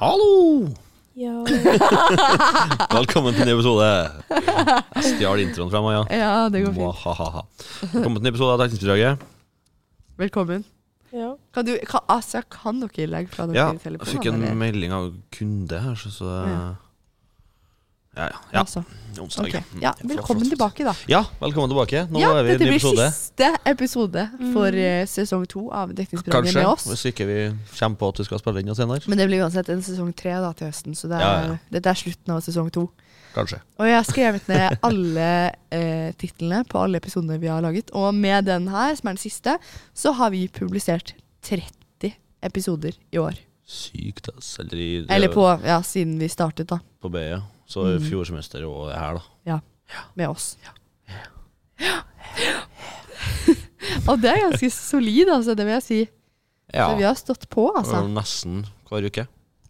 Hallo! Ja. Velkommen til en episode. Jeg stjal introen fra Maja. Ja, det går fint. Mwahaha. Velkommen til en episode av Dekningsbidraget. Velkommen. ja. Kan du, kan, altså, kan dere legge fra dere Ja, jeg telefonene? fikk en eller? melding av kunde her, så, så Ja, ja. ja. Altså, Onsdag. ok. ja. Mm, ja flott, velkommen flott. tilbake, da. Ja, velkommen tilbake. Nå ja, er vi i dette en ny blir episode. siste episode for eh, sesong to av Dekningsprogrammet Kanskje, med oss. hvis ikke vi kommer på at vi skal spille inn noe senere. Men det blir uansett en sesong tre da, til høsten, så det er, Ja, ja, ja. dette er slutten av sesong to. Kanskje. Og jeg har skrevet ned alle eh, titlene på alle episodene vi har laget. Og med den her, som er den siste, så har vi publisert 30 episoder i år. Sykt, ass. Eller, i, Eller på, ja, siden vi startet, da. på BE. ja. Så Mm. fjorsemester og det her, da. med oss. Og det er ganske solid, altså, det vil jeg si. Så vi Ja. Mm. har stått på, altså. og Nesten hver uke.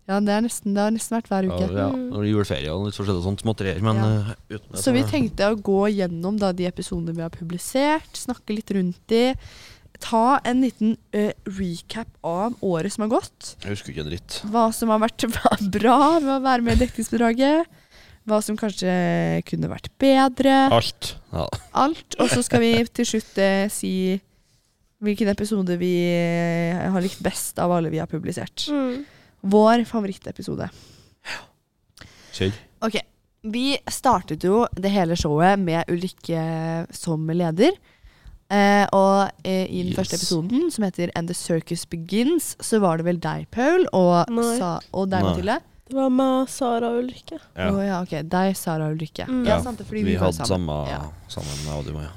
Ja, det, er nesten, det har nesten vært hver Ja, uke. ja. Når det er juleferie og litt forskjellig sånt småtterier. Men Mm. Ja. eh, uten det Så vi er- tenkte å gå gjennom da, de episodene vi har publisert, snakke litt rundt de. Ta en liten eh, recap av året som har gått. Jeg husker ikke en dritt. Hva som har vært bra med å være med i dekningsbidraget. Hva som kanskje kunne vært bedre. Alt. Ja. alt. Og så skal vi til slutt eh, si hvilken episode vi eh, har likt best av alle vi har publisert. Mm. Vår favorittepisode. Kjell. Ok, Vi startet jo det hele showet med Ulrikke som leder. Eh, og eh, i den Yes. første episoden, som heter 'And the Circus Begins', så var det vel deg, Paul, og, Nei. sa, og deg, Nei. Mathilde. Det var meg, Sara og Ulrikke. Ja. Å ja, ok. Deg, Sara og Ulrikke. Mm. Ja, Ja, sant, det, Vi, fordi vi, var hadde sammen. samme, Ja. samme med Audi Maja.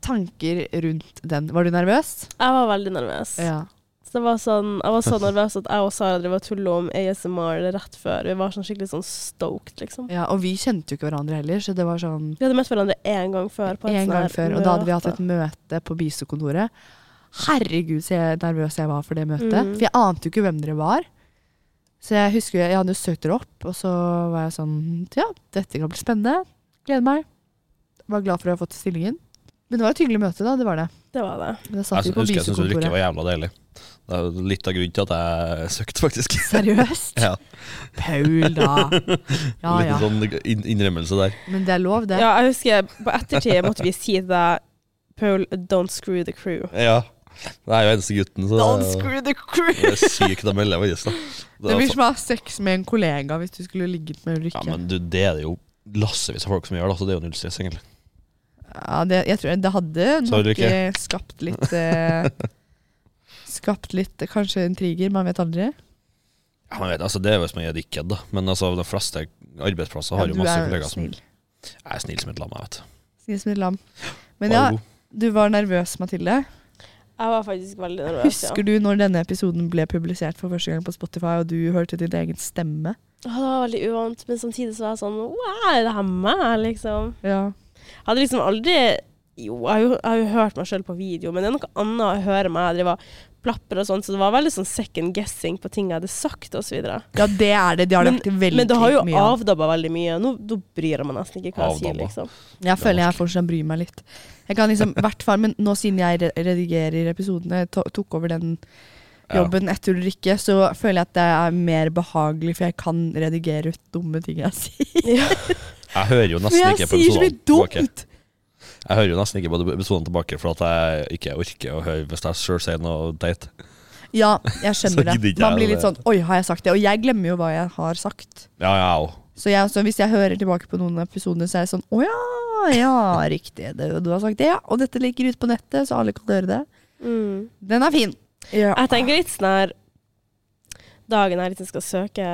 Tanker rundt den. Var du nervøs? Jeg var veldig nervøs. Ja. Så det var sånn, jeg var så nervøs at jeg og Sara drev og tulla om ASMR rett før. Vi var sånn skikkelig sånn stoked, liksom. Ja, og vi kjente jo ikke hverandre heller, så det var sånn Vi hadde møtt hverandre én gang før. på et en sånn gang her før. Og da hadde vi hatt et møte. møte på Bisokontoret. Herregud, så jeg- nervøs jeg var for det møtet. Mm. For jeg ante jo ikke hvem dere var. Så jeg husker jo- jeg hadde jo søkt dere opp, og så var jeg sånn Ja, dette kan bli spennende. Gleder meg. Var glad for å ha fått stillingen. Men det var et hyggelig møte, da. Det var det. Det var det. Men da satt Jeg vi på Altså, husker jeg syntes Ulrikke Bisokontoret. var jævla deilig. Det er jo litt av grunnen til at jeg søkte, faktisk. Seriøst? Ja, Paul, da. Ja Litt ja. sånn inn- innrømmelse der. Men det er lov, det. Ja, jeg husker på ettertid måtte vi si til deg Paul, don't screw the crew. Ja. Det er jo eneste gutten, så Don't det er jo- screw the crew! det er sykt å melde, faktisk. da. Det er blir fa- som å ha sex med en kollega hvis du skulle ligget med Ulrikke. ja, men du, det er det jo lassevis av folk som gjør, da, så det er jo null stress, egentlig. Ja, det, jeg tror det hadde Sa du nok ikke? eh, skapt litt eh, Skapt litt eh, kanskje intriger, man vet aldri. Ja, men vet, du, altså, det er jo hvis man er dickhead, da. Men altså, de fleste arbeidsplasser har Ja, jo du masse er kollegaer som snill. Jeg er snill som et lam, jeg vet. Snill som et lam. Men ja, Bare god. du var nervøs, Mathilde. Jeg var faktisk veldig nervøs, ja. Husker du når denne episoden ble publisert for første gang på Spotify, og du hørte din egen stemme? Å, Det var veldig uvant, men samtidig så var jeg sånn Wow, er det her meg, liksom? Ja. Jeg hadde liksom aldri Jo, jeg har jo, jeg har jo hørt meg sjøl på video, men det er noe annet å høre meg drive og plapre og sånn, så det var veldig sånn second guessing på ting jeg hadde sagt og så videre. ja, det er det. De har lagt veldig Men det har jo mye av. avdabba veldig mye. Nå da bryr jeg meg nesten ikke hva jeg sier, Avdabba. liksom. Jeg føler jeg fortsatt bryr meg litt. Jeg kan liksom, hvert fall, men Nå siden jeg re- redigerer episodene, to- tok over den Ja. jobben etter Ulrikke, så føler jeg at det er mer behagelig, for jeg kan redigere ut dumme ting jeg sier. Jeg hører jo nesten Men ikke jeg på sånn. sier så mye episodene tilbake. dumt! Jeg hører jo nesten ikke på episodene tilbake, for at jeg ikke orker å høre hvis jeg sjøl sier noe teit. Ja, jeg Så skjønner gidder det. ikke Man jeg blir litt det. sånn Oi, har jeg sagt det? Og jeg glemmer jo hva jeg har sagt. Ja, ja, ja. Så, jeg, så hvis jeg hører tilbake på noen av episodene, så er jeg sånn Å ja, ja, riktig. Det, du har sagt det, ja. Og dette ligger ute på nettet, så alle kan høre det. Mm. Den er fin. Ja. Jeg tenker litt sånn her Dagen jeg liksom skal søke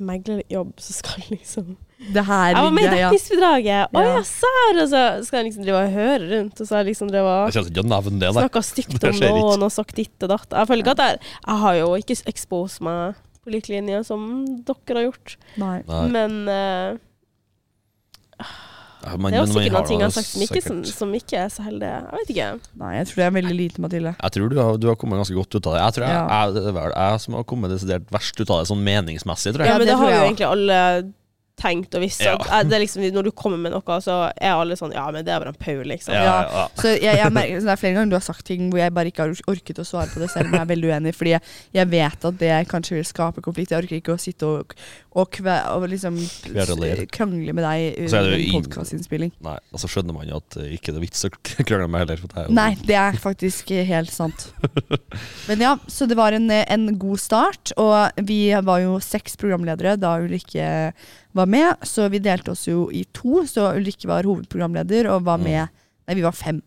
meglerjobb, så skal jeg liksom Det her Jeg var med i ligger ja. dekningsbidraget! Å Ja. ja, sær! Og så skal jeg liksom drive og høre rundt, og så har jeg liksom drevet og Jeg kjente ikke å nevne det, nei. snakka stygt Det om skjer ikke. noen og sagt ditt og datt. Jeg føler ikke at jeg, jeg har jo ikke exposed meg på lik linje som dere har gjort, Nei. nei. men eh, Ja, men- det er jo men man sikkert har noen ting da jeg har sagt som ikke, som, sikkert- sånn- som ikke er så heldig. Jeg vet ikke. Nei, jeg tror det er veldig lite, Mathilde. Jeg tror du har, du har kommet ganske godt ut av det. Jeg tror jeg, Ja. jeg, det er vel jeg som har kommet desidert verst ut av det, sånn meningsmessig, tror Ja, jeg. det men det tror har jo jeg også. egentlig alle tenkt og visst. Ja. at, eh, Det er liksom, når du kommer med noe, så er alle sånn Ja, men det er bare en Paul, liksom. Ja, ja, ja. Så jeg, jeg merker, så det er flere ganger du har sagt ting hvor jeg bare ikke har orket å svare på det, selv om jeg er veldig uenig, fordi jeg, jeg vet at det kanskje vil skape konflikt. Jeg orker ikke å sitte og, og, kve, og liksom Kverulere. krangle med deg Så er under det jo en ingen- podkastinnspilling. Nei, og så skjønner man jo at eh, ikke det er vits å krangle med heller. For det er jo Nei, det er faktisk helt sant. Men ja, så det var en, en god start. Og vi var jo seks programledere da Ulrikke var med, så vi delte oss jo i to. Så Ulrikke var hovedprogramleder og var med Nei, vi var fem.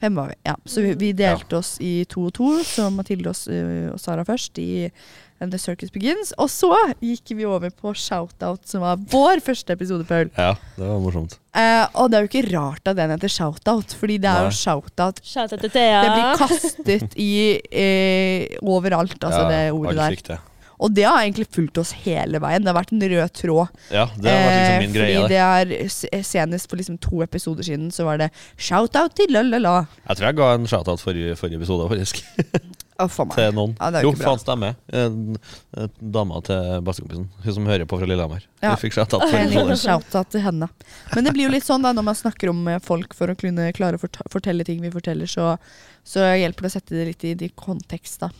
Fem var vi, ja. Så vi, vi delte oss i to og to, så Mathilde og, s- og Sara først i eh, The Circus Begins. Og så gikk vi over på Shoutout, som var vår første episode, Paul. Ja, det var morsomt. Eh, og det er jo ikke rart at den heter Shoutout, fordi det er Nei. jo shoutout Shout out til det blir Thea. kastet i eh, overalt, altså, ja, det ordet alle der. fikk det. Og det har egentlig fulgt oss hele veien. Det har vært en rød tråd. Ja, det var liksom min Eh, greie. Det. fordi det er s- senest for liksom to episoder siden så var det shout-out til la-la-la. Jeg tror jeg ga en shout-out forrige, forrige episode faktisk, Å, faen meg. til noen. Ja, det er jo jo, ikke bra. faen stemmer. En- en Dama til bestekompisen, hun som hører på fra Lillehammer. Ja. Hun fikk shout-out. forrige En liten episode. shout-out til henne. Men det blir jo litt sånn da når man snakker om eh, folk for å kunne klare å forta- fortelle ting vi forteller, så, så hjelper det å sette det litt i, i kontekst, da.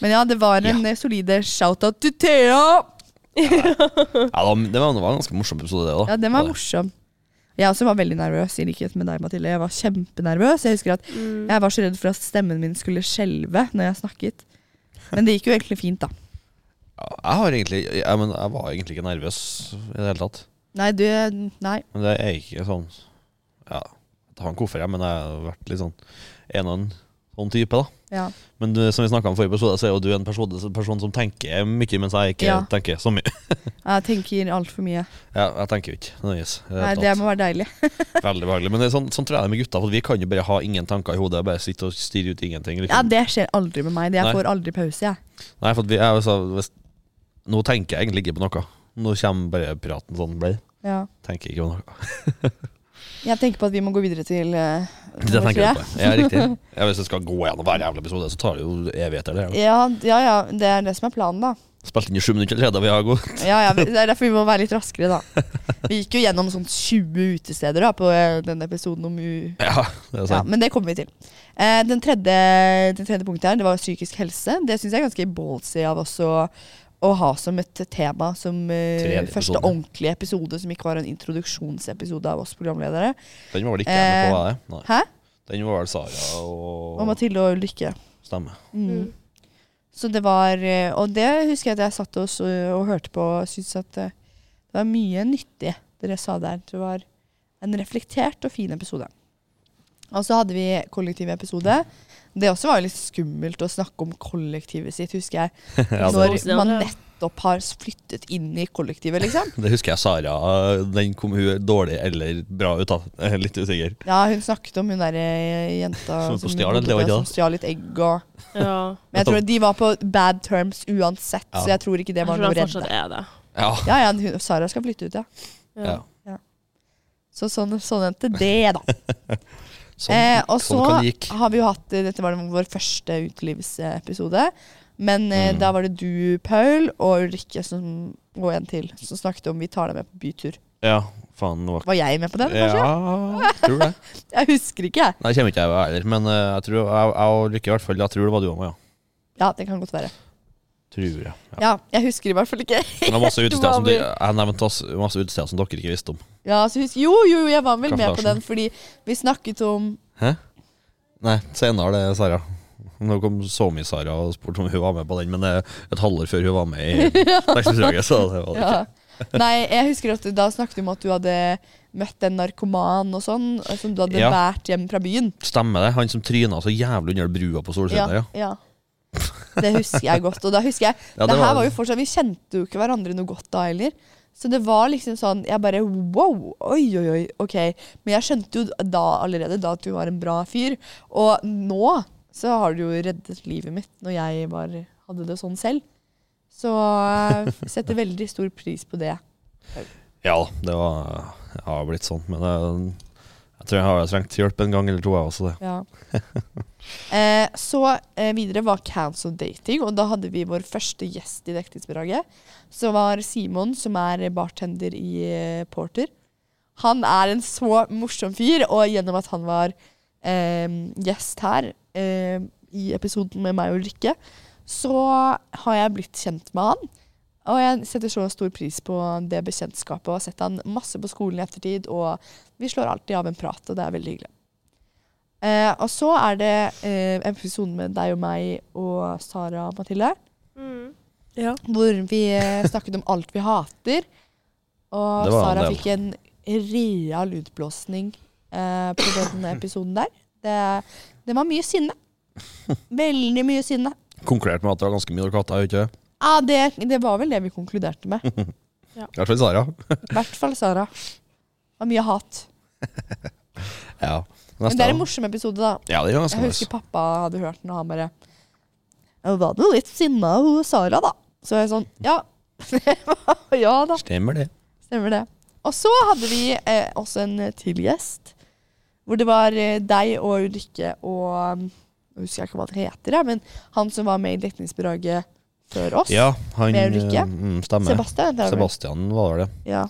Men ja, det var en eh, solide shout-out til Thea! Ja, da, det var det var en ganske morsom episode, det òg. Ja, den var morsom. Jeg også var veldig nervøs, i likhet med deg, Mathilde. Jeg var kjempenervøs. Jeg husker at jeg var så redd for at stemmen min skulle skjelve når jeg snakket. Men det gikk jo egentlig fint, da. Jeg, har egentlig, jeg, men jeg var egentlig ikke nervøs i det hele tatt. Nei, du Nei. Men det er ikke sånn Ja, jeg har en koffer, jeg, men jeg har vært litt sånn en og en sånn type, da. Ja. Men du, som vi snakka om forrige episode, så er jo du en person, person som tenker mye, mens jeg ikke Ja. tenker så mye. Jeg tenker altfor mye. Ja, jeg tenker jo ikke nødvendigvis. i det Nei, hele det tatt. må være deilig. Veldig behagelig. Men det er sånn, sånn tror jeg det er med gutta, for vi kan jo bare ha ingen tanker i hodet og bare sitte og stirre ut ingenting. Ja, Liksom. Det skjer aldri med meg. Det- Jeg Nei. får aldri pause, jeg. Nei, for at vi, jeg, altså, hvis, nå tenker jeg egentlig ikke på noe. Nå kommer bare praten sånn, blei. Ja. Tenker ikke på noe. Jeg tenker på at vi må gå videre til uh, Det tenker jeg på. Ja, riktig. Ja, hvis jeg skal gå gjennom hver jævla episode, så tar det jo evigheter. det, ja. Ja, ja, ja. Det er det som er planen, da. Spilt inn i sju minutter allerede, vi har god Ja, ja, Det er derfor vi må være litt raskere, da. Vi gikk jo gjennom sånn 20 utesteder da, på eh, den episoden om u Ja, det er Ja, sant. men det kommer vi til. Eh, den, tredje, den tredje punktet her, det var psykisk helse. Det syns jeg er ganske ballsy av oss å, å ha som et tema som eh, Tredje første episode. ordentlige episode, som ikke var en introduksjonsepisode av oss programledere. Den var vel ikke jeg med på, var det? Nei. Eh, Hæ? Den var vel Sara og, Og Mathilde og Ulrikke. Stemme. Mm. Så det var eh, Og det husker jeg at jeg satt og, så- og hørte på og syntes at eh, det var mye nyttig dere sa der. Det var en reflektert og fin episode. Og så hadde vi kollektiv episode. Det også var jo litt skummelt å snakke om kollektivet sitt, husker jeg. Ja, det, Når det- man nettopp har flyttet inn i kollektivet, liksom. det husker jeg Sara. Den kom hun dårlig eller bra ut av. Jeg er Litt usikker. Ja, hun snakket om hun derre jenta Som som stjal, bodde det var der, ikke som det? stjal litt egg og Ja. Men jeg tror de var på bad terms uansett, Ja. så jeg tror ikke det Jeg var tror noe han redde. fortsatt er det. Ja. Ja, ja, hun, Sara skal flytte ut, ja. ja. Så sånn, sånn endte det, da. Sånn, eh, og så sånn kan det gikk. har vi jo hatt eh, Dette var den- vår første utelivsepisode. Men eh, Mm. da var det du, Paul, og Ulrikke som, og en til som snakket om vi tar deg med på bytur. Ja, faen. det var- Var jeg med på den, kanskje? Ja, tror det. Jeg husker ikke, jeg. Nei, kommer ikke jeg heller, men eh, jeg tror jeg, jeg og Lykke i hvert fall, jeg tror det var du òg, ja. Ja, det kan godt være. Tror jeg. Ja. Ja, jeg husker i hvert fall ikke. Men det var masse utesteder som, var du- med. jeg nevnte masse- masse utesteder som dere ikke visste om. Ja, så husk, jo, jo, jeg var vel med på Kaffe Larsen. den fordi vi snakket om Nei, senere det, Sara. Nå kom SoMe-Sara og spurte om hun var med på den, men det er et halvår før hun var med i Tekstbedraget, så det var det ikke. ja. Nei, jeg husker at da snakket du om at du hadde møtt en narkoman og sånn, som du hadde Ja. båret hjem fra byen. Stemmer det? Han som tryna så jævlig under brua på Solsiden der, ja. ja. Det husker jeg godt. Og da husker jeg Ja, det det, her var- var jo fortsatt, Vi kjente jo ikke hverandre noe godt da heller. Så det var liksom sånn Jeg bare wow, oi, oi, oi. Ok. Men jeg skjønte jo da allerede da at du var en bra fyr. Og nå så har du jo reddet livet mitt når jeg var, hadde det sånn selv. Så jeg setter veldig stor pris på det. Ja, det var, jeg har blitt sånn, men jeg, jeg tror jeg har trengt hjelp en gang eller to, jeg også. det. Ja. Eh, så eh, videre var Council Dating, og da hadde vi vår første gjest i dekningsbidraget. Så var Simon, som er bartender i eh, Porter. Han er en så morsom fyr, og gjennom at han var eh, gjest her eh, i episoden med meg og Ulrikke, så har jeg blitt kjent med han. Og jeg setter så stor pris på det bekjentskapet og har sett han masse på skolen i ettertid. Og vi slår alltid av en prat, og det er veldig hyggelig. Eh, og så er det eh, episoden med deg og meg og Sara og Mathilde, Mm. Ja. hvor vi eh, snakket om alt vi hater. Og Det var Sara en del. fikk en rea lydblåsning eh, på den episoden der. Det, det var mye sinne. Veldig mye sinne. Konkludert med at det var ganske mye katter, ikke det? Ja, det, det var vel det vi konkluderte med. I hvert fall Sara. I hvert fall Sara. Det var mye hat. Ja. Men det er en da. morsom episode, da. Ja, det er ganske Jeg husker nice. pappa hadde hørt den, og han bare «Ja, Hun var nå litt sinna, hun Sara, da. Så jeg sånn Ja. ja da, Stemmer det. stemmer det. Og så hadde vi eh, også en eh, til gjest. Hvor det var eh, deg og Ulrikke og um, Jeg husker ikke hva han heter, jeg, men han som var med i dekningsbidraget før oss. Ja, han Med Ulrikke? Mm, stemmer. Sebastian. heter han vel? Sebastian var det. Ja.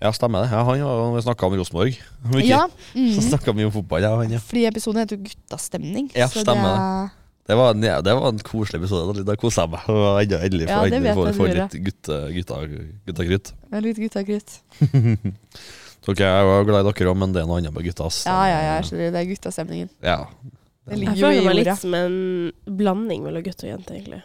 Ja, stemmer det. Ja, han har vi snakka om Rosenborg. Om ikke, ja. Så Mm. snakka vi om fotball, ja, han, ja. Fordi episoden heter jo Guttastemning. Ja, så det stemmer er- Det var, en- ja, det var en koselig episode. Da, da kosa jeg meg. Det var enda- Endelig Ja, får det endelig vet jeg får- du får gjorde. litt gutte- gutta- guttakrutt. Det er litt guttakrutt. Dere er jo glad i dere òg, men det er noe annet med gutta. ass. Ja, ja, ja, jeg skjønner. Det er guttastemningen. Ja. Det Jeg ligger føler jo meg i litt jorda. som en blanding mellom gutt og jente, egentlig.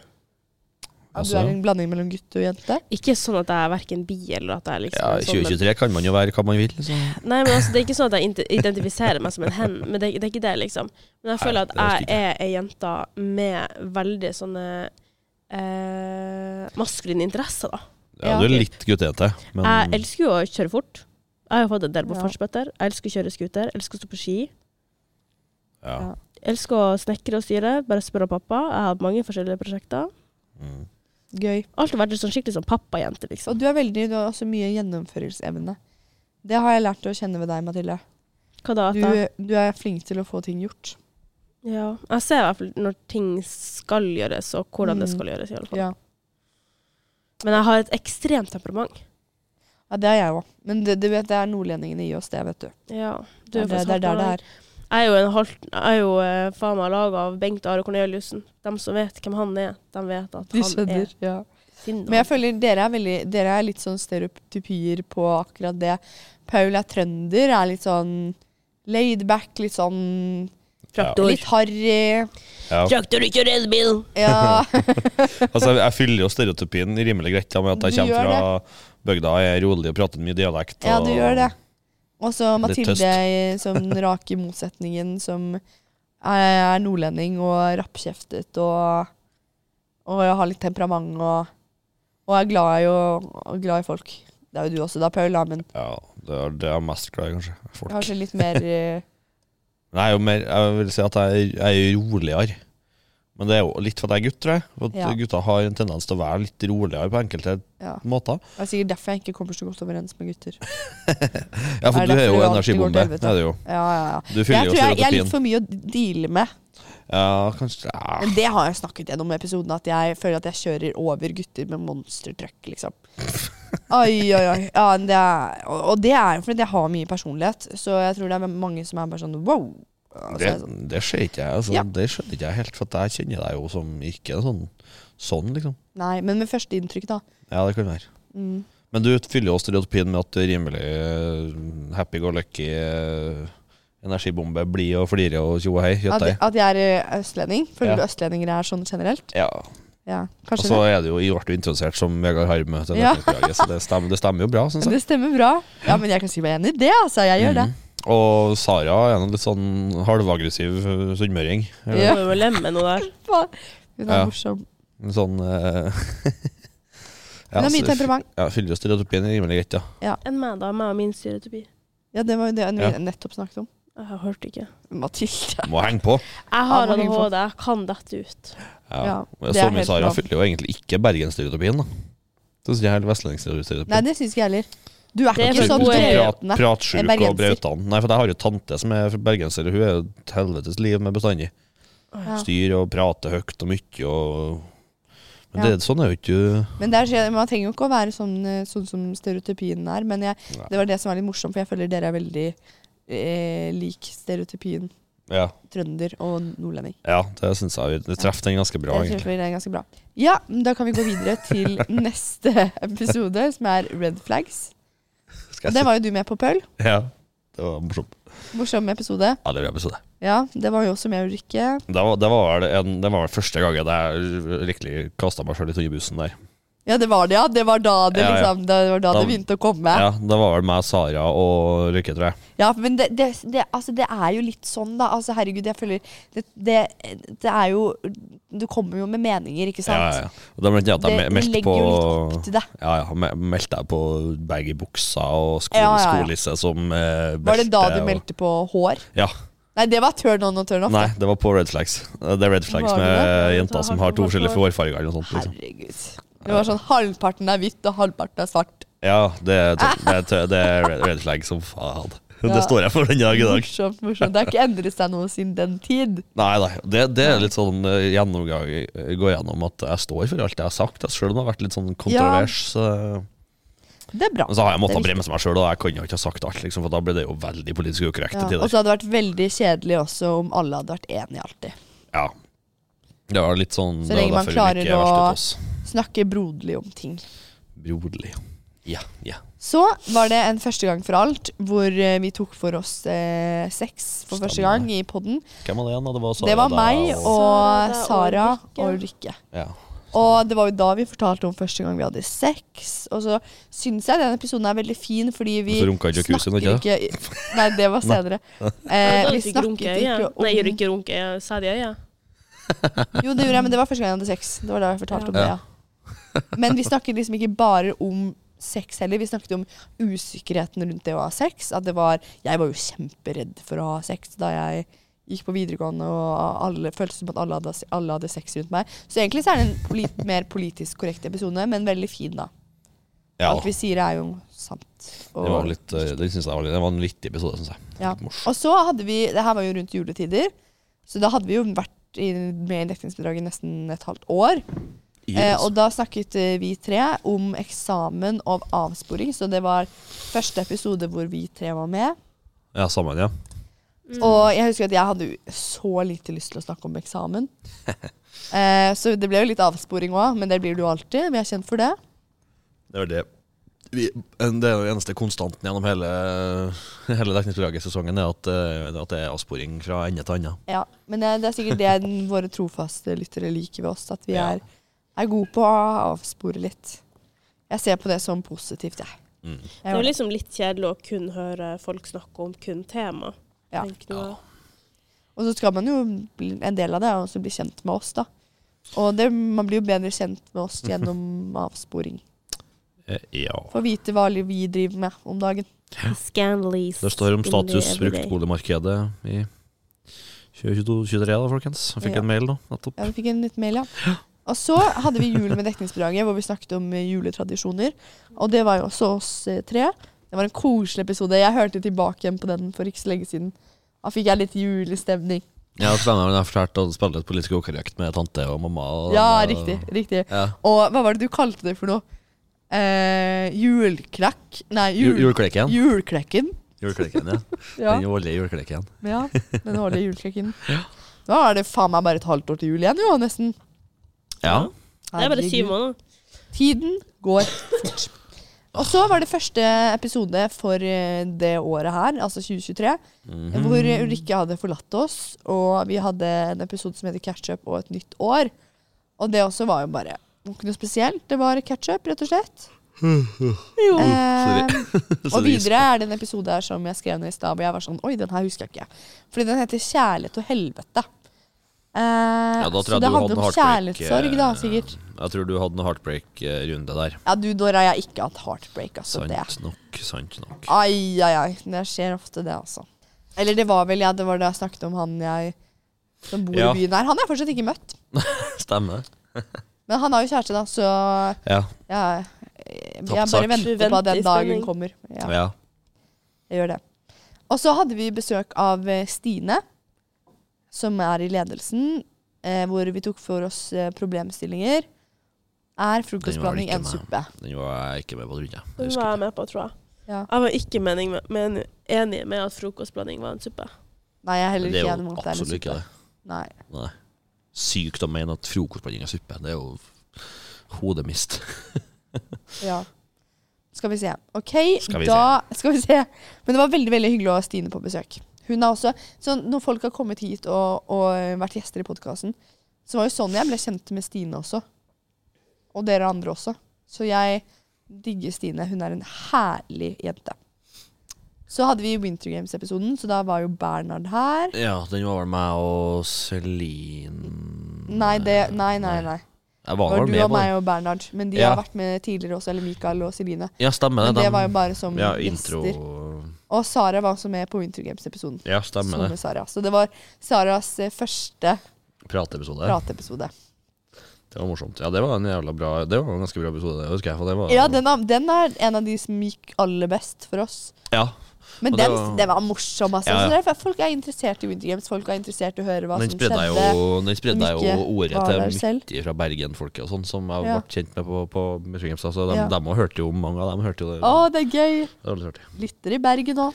Ja, du Altså, er en blanding mellom gutt og jente. Ikke sånn at jeg er verken bi eller at jeg er liksom ja, en sånn, men- 2023 kan man jo være hva man vil. Liksom. Nei, men altså, Det er ikke sånn at jeg inte- identifiserer meg som en hen, men det, det er ikke det, liksom. Men jeg Nei, føler det er at ikke jeg er ei jente med veldig sånne eh, maskuline interesser, da. Ja, Ja. du er litt guttejente, men Jeg elsker jo å kjøre fort. Jeg har jo fått en del på Ja. fartsbøtter. Jeg elsker å kjøre scooter. Jeg elsker å stå på ski. ja. Jeg elsker å snekre og styre. Bare spør om pappa. Jeg har hatt mange forskjellige prosjekter. Mm. Gøy. Alltid vært en sånn skikkelig sånn pappajente, liksom. Og du, er veldig, du har også mye gjennomføringsevne. Det har jeg lært å kjenne ved deg, Mathilde. Hva da? At Du, jeg- du er flink til å få ting gjort. Ja. Jeg ser i hvert fall når ting skal gjøres, og hvordan det Mm. skal gjøres. i alle fall. Ja, Men jeg har et ekstremt temperament. ja det er jeg òg. Men det, du vet, det er nordlendingene i oss, det, vet du. Ja, du Det er er, det, faktisk det er der det halvt- er. Jeg er jo, en halvt, jeg er jo eh, faen meg laga av Bengt Are Corneliussen. De som vet hvem han er, de vet at Du han skjønner. Ja. er sinna. Men jeg føler dere er, veldig, dere er litt sånn stereotypier på akkurat det. Paul er trønder, er litt sånn laid back, litt sånn Traktor. Litt harry. Ja. Traktor, ikke redebil! Ja. Altså, jeg, jeg fyller jo stereotypien rimelig greit da, med at jeg kommer Du gjør fra bygda, jeg er rolig og prater mye dialekt. Ja, og- du gjør det. Og så Litt Mathilde tøst. i- som den rake motsetningen, som er nordlending og rappkjeftet og, og har litt temperament og, og er glad i, å- og glad i folk. Det er jo du også da, Paul, da, men Ja, det er det jeg er mest glad i, kanskje. Folk. kanskje litt mer eh, Nei, jeg er jo mer, jeg vil si at jeg, er- jeg er roligere. Men det er jo litt fordi jeg er gutt, tror jeg. For at Ja. Gutta har en tendens til å være litt roligere på enkelte Ja. måter. Det er sikkert derfor jeg ikke kommer så godt overens med gutter. Ja, for Er det du er derfor jo du alltid går energibombe. til Er helvete? det jo. Ja, ja, ja. Du fyller Jeg jo tror jeg, jeg er litt stereotypien. for mye å deale med. Ja, kanskje ja. Men det har jeg snakket gjennom i episoden, at jeg føler at jeg kjører over gutter med monstertruck, liksom. Oi, oi, oi. Ja, men det er, og og det er jo fordi jeg har mye personlighet, så jeg tror det er mange som er bare sånn wow. Og så Det, er jeg sånn, det ser ikke jeg. Altså, Ja. Det skjønner ikke jeg helt, for at jeg kjenner deg jo som ikke sånn, sånn liksom. Nei, men med første inntrykk, da. Ja, det kan være. Mm. Men du fyller jo stereotypien med at du er rimelig eh, happy go lucky, eh, energibombe, blid og flirer og tjo og hei. At, Kjøttdeig. at jeg er eh, østlending. Føler Ja. Altså, du østlendinger er sånn generelt? Ja. Ja, Og kanskje så er det jo, jeg ble jo introdusert som Vegard Harmø til Ja. Nettverksdraget, så det stemmer, det stemmer jo bra, det. syns jeg. Det stemmer bra. Ja, men jeg kan si meg enig i det, altså. Jeg gjør det. Mhm. Og Sara er en litt sånn halvaggressiv eh, sunnmøring. Eller Ja. Må jo lemme noe der. Faen. Hun er Ja. morsom. En sånn eh, ja, altså, Hun har så- mye temperament. Ja, fyller jo stereotypien rimelig greit, ja. Enn meg, da. Meg og min stereotypi. Ja, det var jo det vi Ja. nettopp snakket om. Jeg hørte ikke. Mathilde. Må henge på. Jeg har Ja, må henge på. ADHD. Jeg kan dette ut. Ja, Men det er Sommer helt Sara lov. fyller jo egentlig ikke Bergensstereotypien, da. Det synes jeg er helt Nei, vestlendingsstereotypien. det syns ikke jeg heller. Du er Det er ikke for sånn gode- prat, brautende. pratsjuk En bergenser. og brautan. Nei, for jeg har jo tante som er bergenser, og hun er jo et helvetes liv med bestandig. Ja. styre og prate høyt og mye og Men Ja. det, sånn er jo ikke Men der, skjer- man trenger jo ikke å være sånn, eh, sånn som stereotypien er, men jeg, Nei. det var det som var litt morsomt, for jeg føler dere er veldig eh, lik stereotypien Ja, trønder og nordlending. ja det syns jeg. Vi traff den ganske bra, jeg egentlig. tror det er ganske bra. Ja, men da kan vi gå videre til neste episode, som er Red Flags. Skal jeg Og det var jo du med på, Paul. si. Ja, det var morsomt. Morsom episode. Ja, det var episode. Ja, det var jo også med Ulrikke. Det var, det var, vel en, det var vel første gangen jeg riktig kasta meg sjøl i tynnebussen der. Ja, det var det, ja. Det var da det, Ja, ja. liksom, det, var da Da- det begynte å komme. Ja, Det var vel meg, Sara og Lykke, tror jeg. Ja, men det, det, det, altså, det er jo litt sånn, da. Altså, herregud, jeg føler det, det, det er jo Du kommer jo med meninger, Ja, ikke sant? ja, ja. Og da mente jeg at jeg Det me- meldte legger på jo litt opp til det. Ja, ja, me- meldte jeg på bag i buksa og sko, Ja, ja, ja. skolisse som eh, Var det da belte du og- meldte på hår? Ja. Nei, det var turn on og turn off. Nei, det var på red flags. Det er red flags Var det med det? Ja, da jenter som har har du to vært forskjellige på- hårfarger eller noe sånt. Liksom. Herregud. Det var sånn halvparten er hvitt, og halvparten er svart. Ja, det, er tø- det, er tø- det er red, red flag som faen. Ja. Det står jeg for den dag i dag. Morsomt, morsomt. Det har ikke endret seg noe siden den tid. Nei, nei. Det, det er litt sånn eh, gjennomgang eh, Gå gjennom at jeg står for alt jeg har sagt, jeg- selv om det har vært litt sånn Ja. kontrovers. Så. Det er bra. Men så har jeg Det er måttet bremse meg sjøl, og jeg kan jo ikke ha sagt alt, liksom, for da blir det jo veldig politisk ukorrekt Ja, til tider. og så hadde det vært veldig kjedelig også om alle hadde vært enige alltid. Ja. Det var litt sånn det Så var lenge man derfor vi klarer ikke er verst å- ut oss. Snakke broderlig om ting. Broderlig. Ja, ja. Så var det en første gang for alt, hvor eh, vi tok for oss eh, sex for første Stemmer. gang i podden. Hvem var det igjen? da? Det var, Sara Det var da, meg og Sara Sara, deg og og Ulrikke. ja. Og det var jo da vi fortalte om første gang vi hadde sex. Og så syns jeg den episodien er veldig fin, fordi vi Og så runka i jacuzzien, snakker ikke ikke Nei, det var senere. Eh, Da vi gikk ikke runke i snakket ikke øyet. Nei, om gjør ikke runke i øyet. Sa de i øyet? Jo, det gjorde jeg, men det var første gang jeg hadde sex. Det var da jeg fortalte om det, ja. Men vi snakket liksom ikke bare om sex heller. Vi snakket om usikkerheten rundt det å ha sex. At det var Jeg var jo kjemperedd for å ha sex da jeg gikk på videregående, og alle føltes som at alle hadde, alle hadde sex rundt meg. Så egentlig så er det en polit, mer politisk korrekt episode, men veldig fin, da. Ja, Alt vi sier, er jo sant. det var litt eh, Det synes jeg var litt Det var en vittig episode, syns jeg. Ja. Litt morsom. Og så hadde vi Det her var jo rundt juletider, så da hadde vi jo vært i, med i dekningsbidraget nesten et halvt år. Eh, og da snakket eh, vi tre om eksamen og avsporing, så det var første episode hvor vi tre var med. Ja, sammen, ja. Mm. Og jeg husker at jeg hadde jo så lite lyst til å snakke om eksamen. Eh, så det ble jo litt avsporing òg, men det blir du alltid. Vi er kjent for det. Det er det. Vi, en- det er jo eneste konstanten gjennom hele, hele dekningsbidraget-sesongen, er at, eh, at det er avsporing fra ende til annen. Ja, Men eh, det er sikkert det den- våre trofaste lyttere liker ved oss, at vi Ja. er, er gode på å avspore litt. Jeg ser på det som positivt, jeg. Mm. Det er jo liksom litt kjedelig å kun høre folk snakke om kun tema. Ja. Tenk noe. Og så skal man jo bli en del av det, og så bli kjent med oss, da. Og det, man blir jo bedre kjent med oss gjennom avsporing. Eh, Ja. Få vite hva li- vi driver med om dagen. Scanleys. Det står om status in the everyday. bruktboligmarkedet i 2022-2023, da, folkens. Jeg fikk Ja. en mail nå, nettopp. Ja, vi fikk en liten mail, ja. Og så hadde vi jul med dekningsbidraget, hvor vi snakket om eh, juletradisjoner. Og det var jo også oss eh, tre. Det var en koselig episode. Jeg hørte tilbake igjen på den for ikke så lenge siden. Da fikk jeg litt julestemning. Ja, treneren har fortalt å spille litt politisk ukorrekt med tante og mamma. Og Ja, og- riktig. riktig. Ja. Og hva var det du kalte det for noe? Eh, julekrakk? Nei, Jul jul, juleklekken. julekrekken. Juleklekken, ja. Ja. Den voldelige juleklekken. Ja, den årlige julekrekken. Da er det faen meg bare et halvt år til jul igjen, jo, nesten. Ja. Det er bare syv Herregud. måneder. Tiden går fort. Og så var det første episode for eh, det året her, altså 2023, Mhm. hvor Ulrikke hadde forlatt oss, og vi hadde en episode som heter Catch-up og et nytt år. Og det også var jo bare det var ikke noe spesielt. Det var catch-up, rett og slett. Jo. Eh, Så det og videre er det en episode her som jeg skrev ned i stad, hvor jeg var sånn Oi, den her husker jeg ikke. Fordi den heter 'Kjærlighet og helvete'. Eh, Ja, da tror så jeg det du hadde handler om noe heartbreak, kjærlighetssorg, da, eh, sikkert. Jeg tror du hadde en heartbreak-runde der. Ja, du, Dora, jeg har ikke hatt heartbreak, altså. Det. Sant nok, sant nok. Ai, ai, ai. Det skjer ofte, det, altså. Eller det var vel ja, det var da jeg snakket om han jeg som bor Ja. i byen her. Han har jeg fortsatt ikke møtt. Stemmer. Men han har jo kjæreste, da, så Ja. jeg, jeg, Tapt sak. bare Du venter på venter at den i dagen spenning. kommer. Ja. ja. Jeg gjør det. Og så hadde vi besøk av eh, Stine. som er i ledelsen, eh, hvor vi tok for oss eh, problemstillinger, er frokostblanding Den var en ikke suppe. Den var jeg ikke med på, tror jeg. Jeg Det husker var jeg ikke. med på, tror jeg. Ja. Jeg var ikke mening med, men enig med at frokostblanding var en suppe. Nei, jeg er Men heller Det ikke er enig jo med at det er en absolutt ikke suppe. det. Nei. Nei. Sykt å mene at frokostblanding er suppe. Det er jo hodemist. Ja. Skal vi se. OK, Skal vi da skal vi se. Men det var veldig veldig hyggelig å ha Stine på besøk. Hun er også, så Når folk har kommet hit og, og vært gjester i podkasten, så var jo sånn jeg ble kjent med Stine også. Og dere andre også. Så jeg digger Stine. Hun er en herlig jente. Så hadde vi Winter Games-episoden, så da var jo Bernhard her. Ja, den var vel meg og Celine Nei, det, nei, nei. nei. Jeg Det var var vel du med og på den. meg og Bernhard. Men de Ja. har vært med tidligere også, eller Mikael og Celine. Ja, stemmer det. Men det dem- var jo bare som ja, gjester. intro Og Sara var også med på Winter Games-episoden. Ja, stemmer Som med det. Sara. Så det var Saras eh, første Prateepisode. prateepisode. Det var morsomt. Ja, det var en jævla bra Det var en ganske bra episode, det husker jeg. For det var, Ja, den er, den er en av de som gikk aller best for oss. ja. Men Og det den var- den var morsom. Altså. Ja, ja. Så det er derfor folk er interessert i Winter Games. Folk er interessert i å høre hva Den som spredde skjedde. jeg jo, den spredde jeg jo Mikke ordet var til der selv. mye fra Bergen-folket og sånn, som jeg Ja. ble kjent med på, på Mystery Games. Altså, de, Ja. dem også hørte jo mange av dem. hørte jo det. Å, det er gøy! Det var litt artig. Lytter i Bergen òg.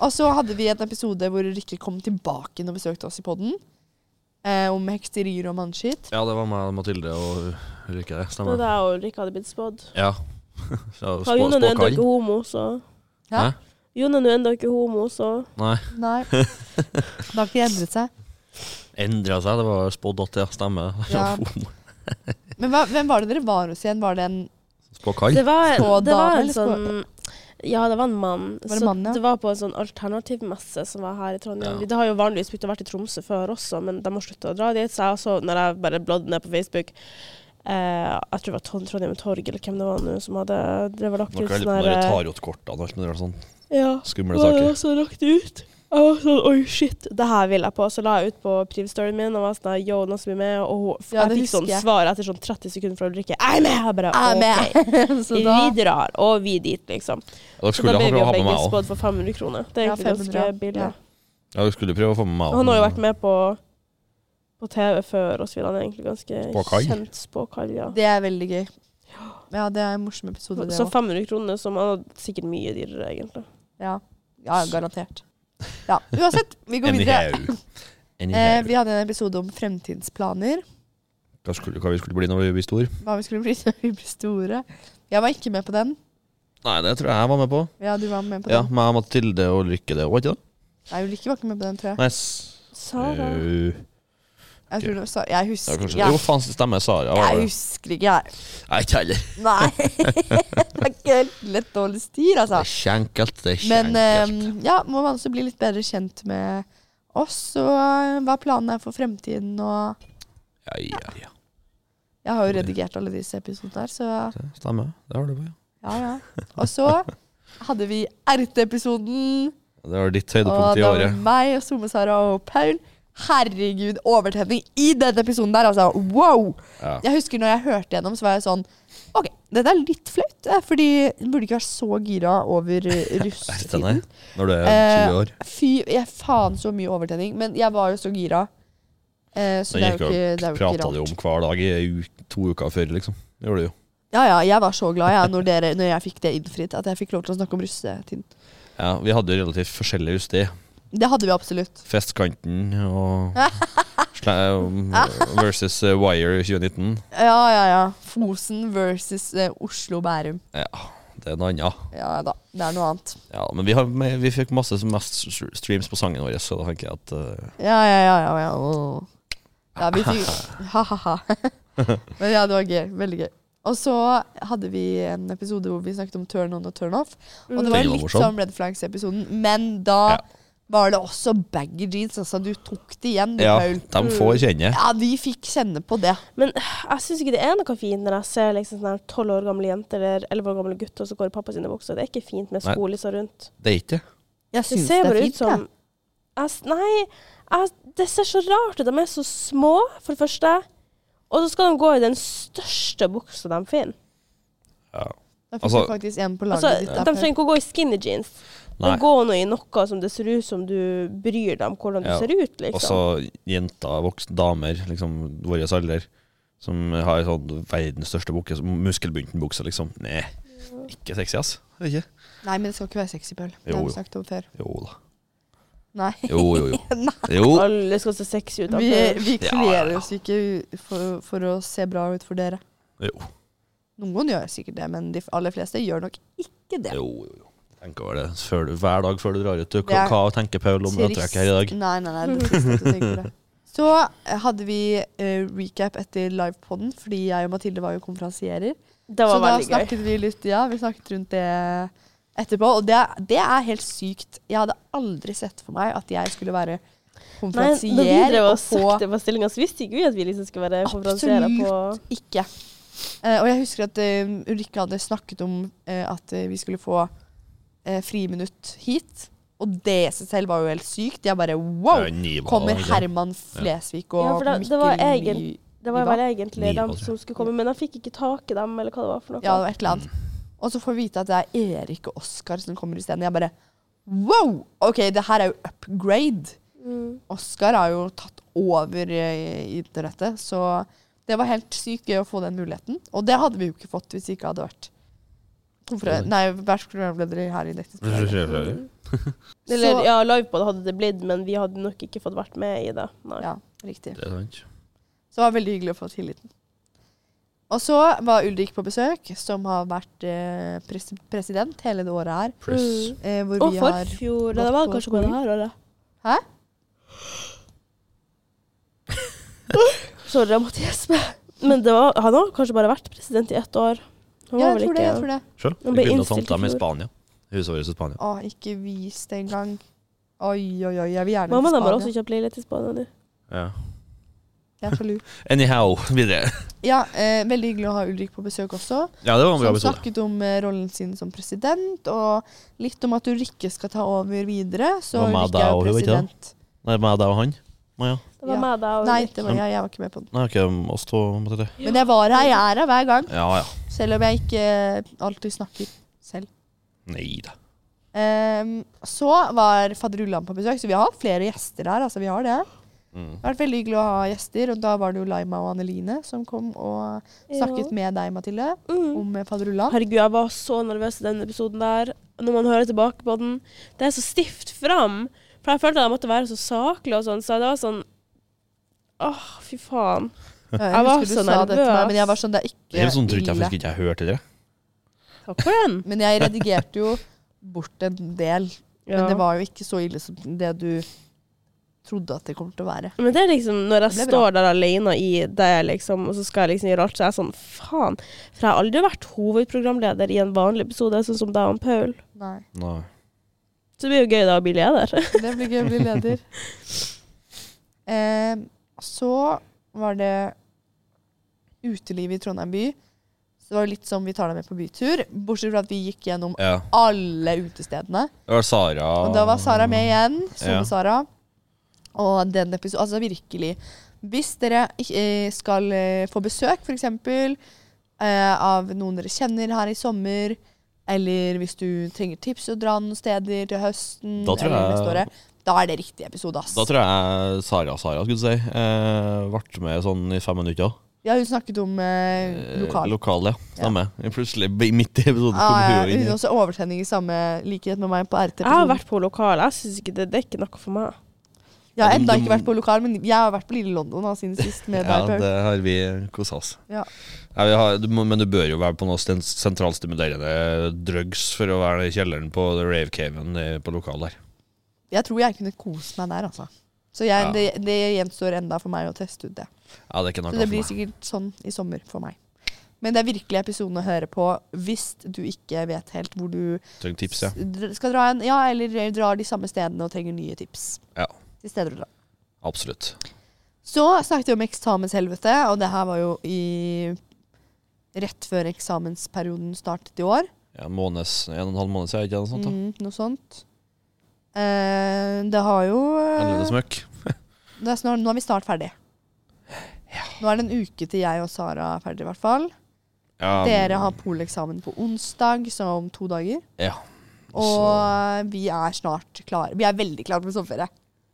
Og så hadde vi en episode hvor Rikke kom tilbake og besøkte oss i poden. Eh, om hekserier og mannskitt. Ja, det var meg og Mathilde og Ulrikke, det. Det var Stemmer det. da jeg og Ulrikke hadde blitt spådd. Ja. Så Har Jon ennå ikke Spåkall. homo, så Hæ? Hæ? Jon er nå ennå ikke homo, så Nei. Nei. Det har ikke endret seg. Endra seg, det var spådd at ja, stemmer. Ja. Men hva, hvem var det dere var hos igjen? Var det en Spåkall. Det var, Spå det var dame, en eller sånn Ja, det var en mann. Var det så mann, ja? det var på en sånn alternativmesse som var her i Trondheim. Ja. Vi- Det har jo vanligvis begynt å være i Tromsø før også, men de har slutta å dra dit. Så jeg så, når jeg bare bladde ned på Facebook eh, Jeg tror det var Trond- Trondheim Torg eller hvem det var nå som hadde drevet lagt Noe ut litt sånn med de eh, her tarotkortene og alt mulig sånt. eh, Ja. Skumle Og saker. jeg så lagt det ut. Jeg var sånn, oi shit, det her vil jeg på. Så la jeg ut på privstoryen min og var sånn, yo, nå skal vi med. Og hun, Ja, det jeg fikk sånn husker jeg. svar etter sånn 30 sekunder fra Ulrikke. Jeg er med! Jeg bare, Ah, Jeg er ok. med. Så da, Vi drar, og vi dit, Ja, liksom. Dere Så da skulle ble vi ha, jo ha med begge meg òg. spådd for 500 kroner. Det er Ja, egentlig 500, ja. ganske billig. Ja. Ja, dere skulle prøve å få med meg Og også. han har jo vært med på, på TV før oss, vil han er egentlig ganske Spåkall. kjent spåkall, ja. det er veldig gøy. Ja, det er en morsom episode, det Så òg. 500 kroner, som han hadde sikkert mye dyrere, egentlig. Ja. ja, garantert. Ja, uansett, vi går videre. Anyhow. Eh, Anyhow. vi hadde en episode om fremtidsplaner. Hva, skulle, hva vi skulle bli når vi blir stor? Hva vi skulle bli når vi blir store. Jeg var ikke med på den. Nei, det tror jeg jeg var med på. Ja, du var med på Ja, den. Meg, Mathilde og Lykke, det òg, ikke det? Nei, Ulrikke var ikke med på den, tror jeg. Nei, Sara. Jeg, tror det var, Sara. jeg ja, husker kanskje. jeg, Jo, faen, stemmer. Sara var jeg det. husker ikke, jeg. Nei, ikke heller. Nei. det er ikke helt lett å holde styr, Det altså. er ikke enkelt. Det er ikke Men enkelt. eh, ja, må man også bli litt bedre kjent med oss, og eh, hva planene er for fremtiden, og Ja, ja, ja. Jeg har jo redigert alle disse episodene her, så Det stemmer. Det har du på, ja. ja, ja. Og så hadde vi RT-episoden. Det var ditt Og høydepunkt i det var året. meg og Some-Sara og Paul. Herregud, overtenning i den episoden der, altså. Wow! Ja. Jeg husker når jeg hørte gjennom, så var jeg sånn OK, dette er litt flaut, eh, fordi jeg burde ikke være så gira over eh, Nei, russetiden. når du er Eh, 20 år. Fy, jeg faen så mye overtenning. Men jeg var jo så gira. Eh, så Den det er gikk jo og ikke, det er jo prata ikke du rart. om hver dag i ei u- to uker før, liksom. Det gjorde du jo. Ja, ja, jeg var så glad jeg, når, dere, når jeg fikk det innfridd, at jeg fikk lov til å snakke om russetiden. Ja, Vi hadde jo relativt forskjellig justé. Det hadde vi absolutt. Festkanten og sla- versus eh, Wire 2019. Ja, ja, ja. Fosen versus eh, Oslo-Bærum. Ja, det er noe annet. Ja da, det er noe annet. Ja, men vi, har, med- vi fikk masse som mest s- streams på sangen vår, så da tenker jeg at eh, Ja, ja, ja. Ja, ja. åh. ja vi fikk Ha-ha-ha. Men ja, det var gøy. Veldig gøy. Og så hadde vi en episode hvor vi snakket om turn on og turn off. Og det var Den Mm. var litt morsom. som Red Flags-episoden, men da Ja. var det også baggy jeans. Altså, du tok det igjen, du, Ja, Paul. de får kjenne. Ja, vi fikk kjenne på det. Men jeg syns ikke det er noe fint når jeg ser liksom sånne her 12 år gamle jenter eller 11 år gamle gutter som går i pappa sine bukser. Det er ikke fint med Nei. skolisser rundt. Det er ikke det. Jeg Det syns det ser er bare ut fint, som jeg. jeg, s- Nei, jeg, det ser så rart ut. De er så små, for det første. Og så skal de gå i den største buksa de finner. Ja. Da fikk altså- du faktisk en på laget Altså, ditt. de da, Paul. trenger ikke å gå i skinny jeans. Nei. Men gå nå i noe som det ser ut som du bryr deg om hvordan du Ja. ser ut, liksom. Også jenter, voksne damer, liksom vår alder, som har sånn verdens største bukke, som muskelbuntenbukse, liksom. Nei, ikke sexy, ass. Er det Ikke? Nei, men det skal ikke være sexy pøl. Det Jo, har jo. vi snakket om før. Jo da. Nei. Jo, jo, jo. Nei. Jo. Alle skal se sexy ut. Vi, akkurat. vi Ja, kler ja. oss ikke u- for, for å se bra ut for dere. Jo, Noen gjør sikkert det, men de f- aller fleste gjør nok ikke det. jo, jo. jo. Tenk over det før du, hver dag før du drar ut. Du, Det er hva tenker Paul om antrekket her i dag? Trist. Nei, nei, nei, det er trist at du tenker på det. Så eh, hadde vi eh, recap etter livepoden, fordi jeg og Mathilde var jo konferansierer. det Så var da veldig gøy. snakket vi litt Ja, vi snakket rundt det etterpå. Og det, det er helt sykt. Jeg hadde aldri sett for meg at jeg skulle være Nei, da vi konferansier drev og og få søkte på stillinga, så visste ikke vi at vi liksom skulle være konferansierer Absolutt. på ikke. Eh, og jeg husker at eh, Ulrikke hadde snakket om eh, at eh, vi skulle få eh, friminutt hit. Og det i seg selv var jo helt sykt. Jeg bare wow! Det er nivå, Kommer ikke? Herman Flesvig og Ja, for da- det Mikkel var Ny- egen- Det var Niva. vel egentlig Niva, dem tror jeg. som skulle komme, men jeg fikk ikke tak i dem, eller hva det var for noe. Ja, det var et eller annet. Og så får vi vite at det er Erik og Oskar som kommer isteden. Jeg bare wow! OK, det her er jo upgrade. Mm. Oskar har jo tatt over eh, internettet, så det var helt sykt gøy å få den muligheten. Og det hadde vi jo ikke fått hvis vi ikke hadde vært konferen- Enig. Nei, vært programledere her i Dektisk. Mm. Eller Så- ja, livepod hadde det blitt, men vi hadde nok ikke fått vært med i det. Nei. Ja, riktig. Det er sant. Så det var veldig hyggelig å få tilliten. Og så var Ulrik på besøk, som har vært eh, pres president hele det året her. Press. Eh, hvor Og vi har forfjor, gått det var på kanskje hva det her, eller? Hæ? Sorry, jeg måtte gjespe. Men det var, han har kanskje bare vært president i ett år. Han var Ja, jeg vel tror det. ikke- jeg tror det. Sjøl. Den Vi ble begynner å innstilt i tante dem i fjor. Spania. Huset vårt i Spania. Å, ikke vis det engang. Oi, oi, oi. Jeg vil gjerne Mamma til og dem har Spania. også kjøpt leilighet i Spania nå. Ja. Jeg er så lur. Anyhow, videre. Ja, eh, veldig hyggelig å ha Ulrik på besøk også. Ja, det var en bra Som episode. snakket om eh, rollen sin som president, og litt om at Ulrikke skal ta over videre. Så Det var meg Ulrikke er da, jo hun, ikke det? president. Nei, meg, deg og han. Maja. Det var Ja. meg, deg og Nei, Ulrik. det var, jeg, jeg var ikke med på den. Nei, ikke oss to, Mathilde. Men jeg var her, jeg er her hver gang. Ja ja. Selv om jeg ikke eh, alltid snakker selv. Nei da. Ehm, så var fadderullan på besøk, så vi har hatt flere gjester her. altså vi har Det Mm. Det har vært veldig hyggelig å ha gjester, og da var det jo Laima og Anneline som kom og snakket med deg, Mathilde, Mm. om eh, fadderullan. Herregud, jeg var så nervøs i den episoden der. Når man hører tilbake på den, det er så stivt fram. For jeg følte at jeg måtte være så saklig og sånn, så det var sånn Åh, fy faen. Jeg, Jeg var husker du så sa det til nervøs. meg, men jeg var sånn, det er Det er ikke sånn, trodde jeg ille. faktisk ikke jeg hørte det. Takk for den. Men jeg redigerte jo bort en del. Men det var jo ikke så ille som det du trodde at det kom til å være. Men det er liksom, når jeg Det ble bra. står der alene i det, liksom, og så skal jeg liksom gjøre alt, så er jeg sånn faen. For jeg har aldri vært hovedprogramleder i en vanlig episode, sånn som deg og Paul. Nei. Nei. Så det blir jo gøy da å bli leder. Det blir gøy å bli leder. Eh, så var det utelivet i Trondheim by. Så det var jo litt som vi tar deg med på bytur. Bortsett fra at vi gikk gjennom Ja. alle utestedene. Det var Sara Og da var Sara med igjen. Som Ja. Sara. Og den episoden Altså virkelig. Hvis dere eh, skal eh, få besøk, f.eks. Eh, av noen dere kjenner her i sommer, eller hvis du trenger tips å dra noen steder til høsten Da tror eller jeg- neste året, da er det riktig episode, ass. Da tror jeg Sara Sara skulle du si eh, ble med sånn i fem minutter. Ja, hun snakket om eh, lokal. lokal ja. Stemmer. Plutselig, b- midt i episoden, kom Ah, ja, hun jo hun inn. har også overtenning i samme likhet med meg på RT. Jeg har vært på lokal, jeg syns ikke det, det er ikke noe for meg. Jeg har Ja, de- enda de- ikke vært på lokal, men jeg har vært på Lille London da, siden sist med Ja, deg, Paul. det har vi kosa oss. Ja. Ja, vi har, du må- men du bør jo være på noe sten- sentralstimulerende drugs for å være i kjelleren på Rave Caven eh, på lokal der. Jeg tror jeg kunne kose meg der, altså. Så jeg, Ja. det, det gjenstår enda for meg å teste ut det. Ja, det er ikke noe Så det for blir meg. sikkert sånn i sommer for meg. Men det er virkelig episoden å høre på hvis du ikke vet helt hvor du Trenger tips, ja. s- dr- skal dra en, ja, eller drar de samme stedene og trenger nye tips. Ja. Til steder å dra. Absolutt. Så snakket vi om eksamenshelvete, og det her var jo i rett før eksamensperioden startet i år. Ja, måneds, en og en halv måned siden, ikke noe sånt? da Mm, noe sånt. Eh, det har jo Eller det smøkk? Det er snart, nå er vi snart ferdig. Nå er det en uke til jeg og Sara er ferdig, i hvert fall. Ja, Dere har poleksamen på onsdag, så om to dager. Ja. Og eh, vi er snart klare. Vi er veldig klare for sommerferie.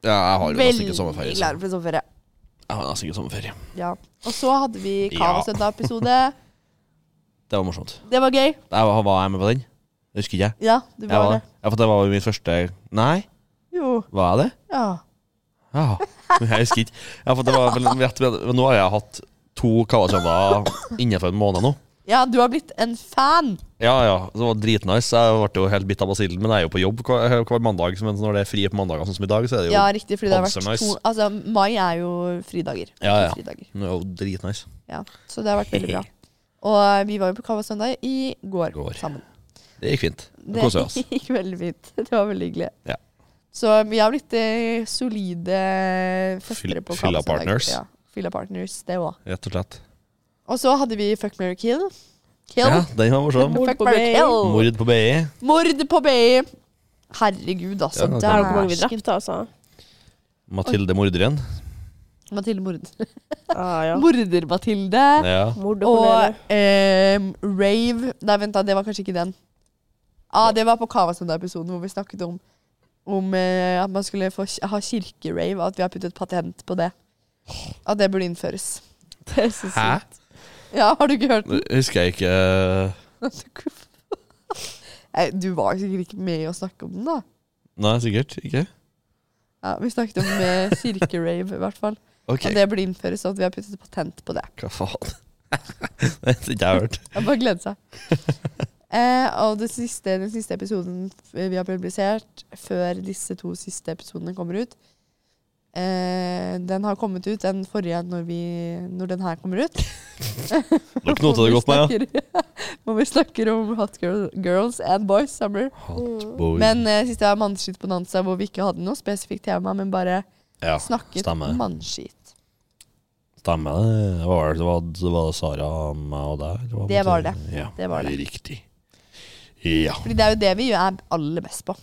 Ja, jeg har jo nesten Veldig ikke sommerferie. Så. klare for sommerferie. Jeg har nesten ikke sommerferie. Ja. Og så hadde vi Ja. Kavasøndag-episode. Det var morsomt. Det var gøy. Jeg, var jeg med på den? Det husker ikke jeg. Ja, du Jeg var var, det. ja, for det var jo mitt første Nei, Jo. var jeg det? Ja. Ja. Men jeg husker ikke. Ja, for det var vel rett ved Men nå har jeg hatt to kavasøndager innenfor en måned nå. ja, du har blitt en fan. Ja, ja. Det var dritnice. Jeg ble jo helt bitt av basillen, men jeg er jo på jobb hver, hver mandag. så Mens når det er fri på mandager, sånn som i dag, så er det jo Ja, riktig. Fordi det har vært Panser nice. to Altså, mai er jo fridager. Ja, ja. To fridager. Det er jo dritnice. Ja, så det har vært veldig bra. Og eh, vi var jo på Kava søndag i går, Går. sammen. Det gikk fint. Det Det koser oss. gikk veldig fint. Det var veldig hyggelig. Ja. Så vi har blitt eh, solide festere Fyll- på fylla Kava søndag. partners. Ja, fylla partners, det òg. Rett og slett. Og så hadde vi Fuck, marry, kill. Kill. Ja, den var morsom. Mord Fuck, på marry, BI. kill. Mord på BI. Mord på BI. Herregud, altså. Ja, det er Der er det hvor mange vi dæsken. drepte, altså. Mathilde morderen. Mathilde Mord. Ah, ja. Morder-Mathilde. Ja. Mord og kolere. Og ehm, Rave Nei, vent, da. Det var kanskje ikke den. Ah, det var på Kavasunda-episoden hvor vi snakket om, om eh, at man skulle få, ki- ha kirkerave. At vi har puttet patent på det. At det burde innføres. Det er så sykt. Hæ? Ja, har du ikke hørt den? Det Husker jeg ikke eh, Nei, Du var sikkert ikke med å snakke om den, da. Nei, sikkert ikke. Ja, vi snakket om eh, kirkerave, i hvert fall. Ok, At det burde innføres, og at vi har puttet patent på det. hva faen? det har ikke jeg hørt. Jeg bare gleder seg. Eh, og det siste, den siste episoden f- vi har publisert før disse to siste episodene kommer ut eh, Den har kommet ut, den forrige når, vi, når den her kommer ut. Dere knotet det godt med, ja. ja. Hvor vi snakker om hot girl, girls and boys summer. Hot boy. Men eh, siste var mannskitt på Nansa, hvor vi ikke hadde noe spesifikt tema, men bare ja, snakket stemmer. mannskitt. stemmer det. Det var, det var, det var Sara, meg og deg. eller hva Det var måtte- Ja, Det var det. Riktig. Ja. Fordi det er jo det vi er aller best på.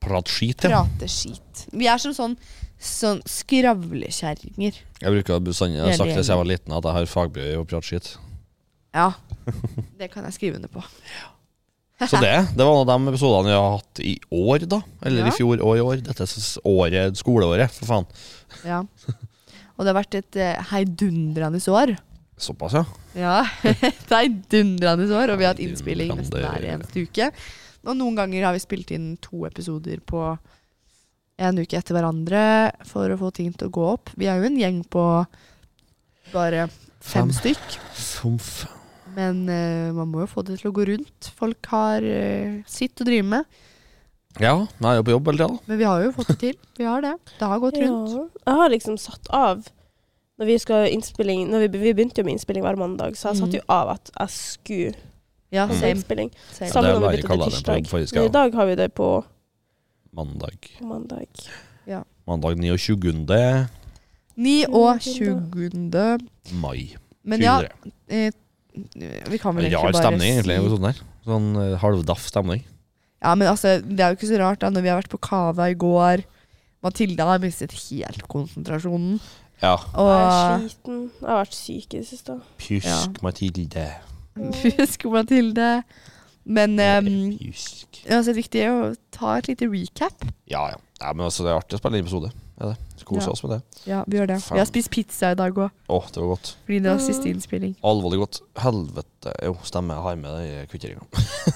Prat skit, ja. Prate skit. Vi er som sånn, sånn skravlekjerringer. Jeg bruker å bestandig- jeg har sagt det siden jeg var liten, at jeg har fagbrev i å prate skit. Ja. Det kan jeg skrive under på. Så det det var en av de episodene vi har hatt i år, da. Eller Ja. i fjor og i år. Dette er s- året, skoleåret, for faen. Ja. Og det har vært et eh, heidundrende år. Såpass, ja. Ja, et heidundrende år, og vi har hatt innspilling nesten Heidundrande. hver eneste uke. Og noen ganger har vi spilt inn to episoder på en uke etter hverandre for å få ting til å gå opp. Vi er jo en gjeng på bare fem stykk, Fomf. men eh, man må jo få det til å gå rundt. Folk har eh, sitt å drive med, Ja, jeg er jo på jobb hele tida, da. men vi har jo fått det til. Vi har det. Det har gått rundt. Ja. Jeg har liksom satt av når vi, skal ha innspilling, når vi, be- vi begynte jo med innspilling hver mandag, så jeg satte jo av at jeg skulle Ja, Mm. ha same. innspilling. same. det Samme er når vi veldig bytta til kaldt her på jobb, tirsdag. faktisk, Men ja. i dag har vi det på, Mandag. på mandag. Mandag 29. 9 og 20. mai. Men ja, 23. eh, vi kan vel egentlig Rar bare stemning, si egentlig. med Sånn, der. sånn eh, halvdaff stemning. Ja, men altså, det er jo ikke så rart da, når vi har vært på Kava i går. Mathilde har mistet helt konsentrasjonen. Ja. Jeg er Og sliten. Jeg har vært syk i det siste. Pjusk, Ja. Mathilde. Husk Mathilde. Men um, Pjusk. altså, det er viktig å ta et lite recap. Ja, ja. ja men altså, det er artig å spille inn episode. Ja, det. Kose Ja. oss med det. Ja, vi gjør det. Vi har spist pizza i dag òg, Å, det var godt. fordi det var siste innspilling. Alvorlig godt. Helvete. Jo, stemmer. Jeg har med det i kvitteringa.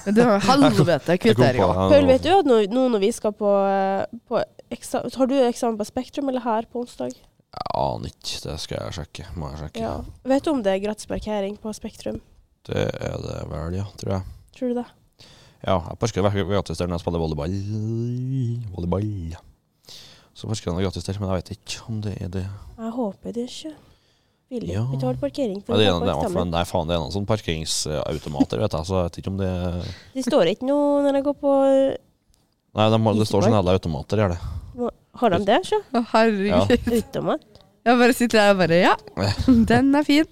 Men det var helvete kvitteringa. Ah. Paul, vet du at nå, nå når vi skal på, eh, på eksa- Har du eksamen på Spektrum eller her på onsdag? Jeg aner ikke. Det skal jeg sjekke. Må jeg sjekke. Ja. Vet du om det er gratis parkering på Spektrum? Det er det vel, ja. Tror jeg. Tror du det? Ja, jeg parker hver- gratis der når jeg spiller volleyball. Volleyball. Så parker jeg noe gratis der, men jeg vet ikke om det er det. Jeg håper det ikke. Vil Ja. ikke betale parkering for Ja, det, er å en, gå det, på er, eksamen. nei, faen, det er noen sånne parkeringsautomater, vet jeg, så jeg vet ikke om det Nei, Det står ikke noe når jeg går på de, har- det står sånne hele automater, gjør det. Har de det, sjø? Å, Herregud. Utenom det? Jeg bare sitter her og bare Ja, den er fin.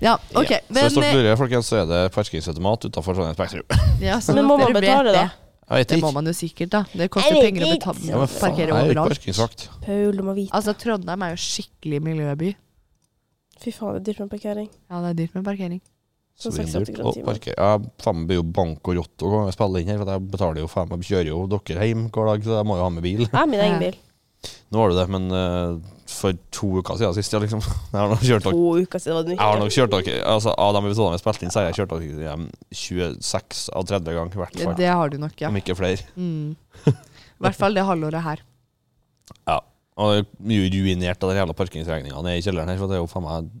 Ja, OK. Ja. så Men, hvis dere eh, lurer, folkens, så er det parkeringsautomat utenfor Trondheim Spektrum. ja, sånn Men at må man dere vet betale, da? Jeg vet Det må ikke. man jo sikkert, da. Det koster penger å betale Ja, men å faen, jeg parkere er jo ikke overalt. parkeringsvakt. Paul, du må vite. Altså, Trondheim er jo skikkelig miljøby. Fy faen, det er dyrt med parkering. Ja, det er dyrt med parkering. Så Sånn det er 86 dyrt. kroner Og timen. parker. Jeg faen meg blir jo bank og rotto når jeg spiller inn her. For at jeg betaler jo faen meg, kjører jo dere hjem hver dag, så jeg må jo ha med bil. Jeg har min egen bil. Nå har du det, men eh, for to uker siden sist, ja, liksom. Jeg har nok kjørt dere To uker siden var det Jeg har nytt. nok kjørt dere Altså, av de episodene jeg spilte inn, så har jeg kjørt dere hjem 26 av 30 ganger, i hvert Det, fall. det har du nok, ja. Om ikke flere. Mm. I hvert fall det halvåret her. Og jeg er mye ruinert av de jævla parkeringsregningene i kjelleren her, for det er jo faen meg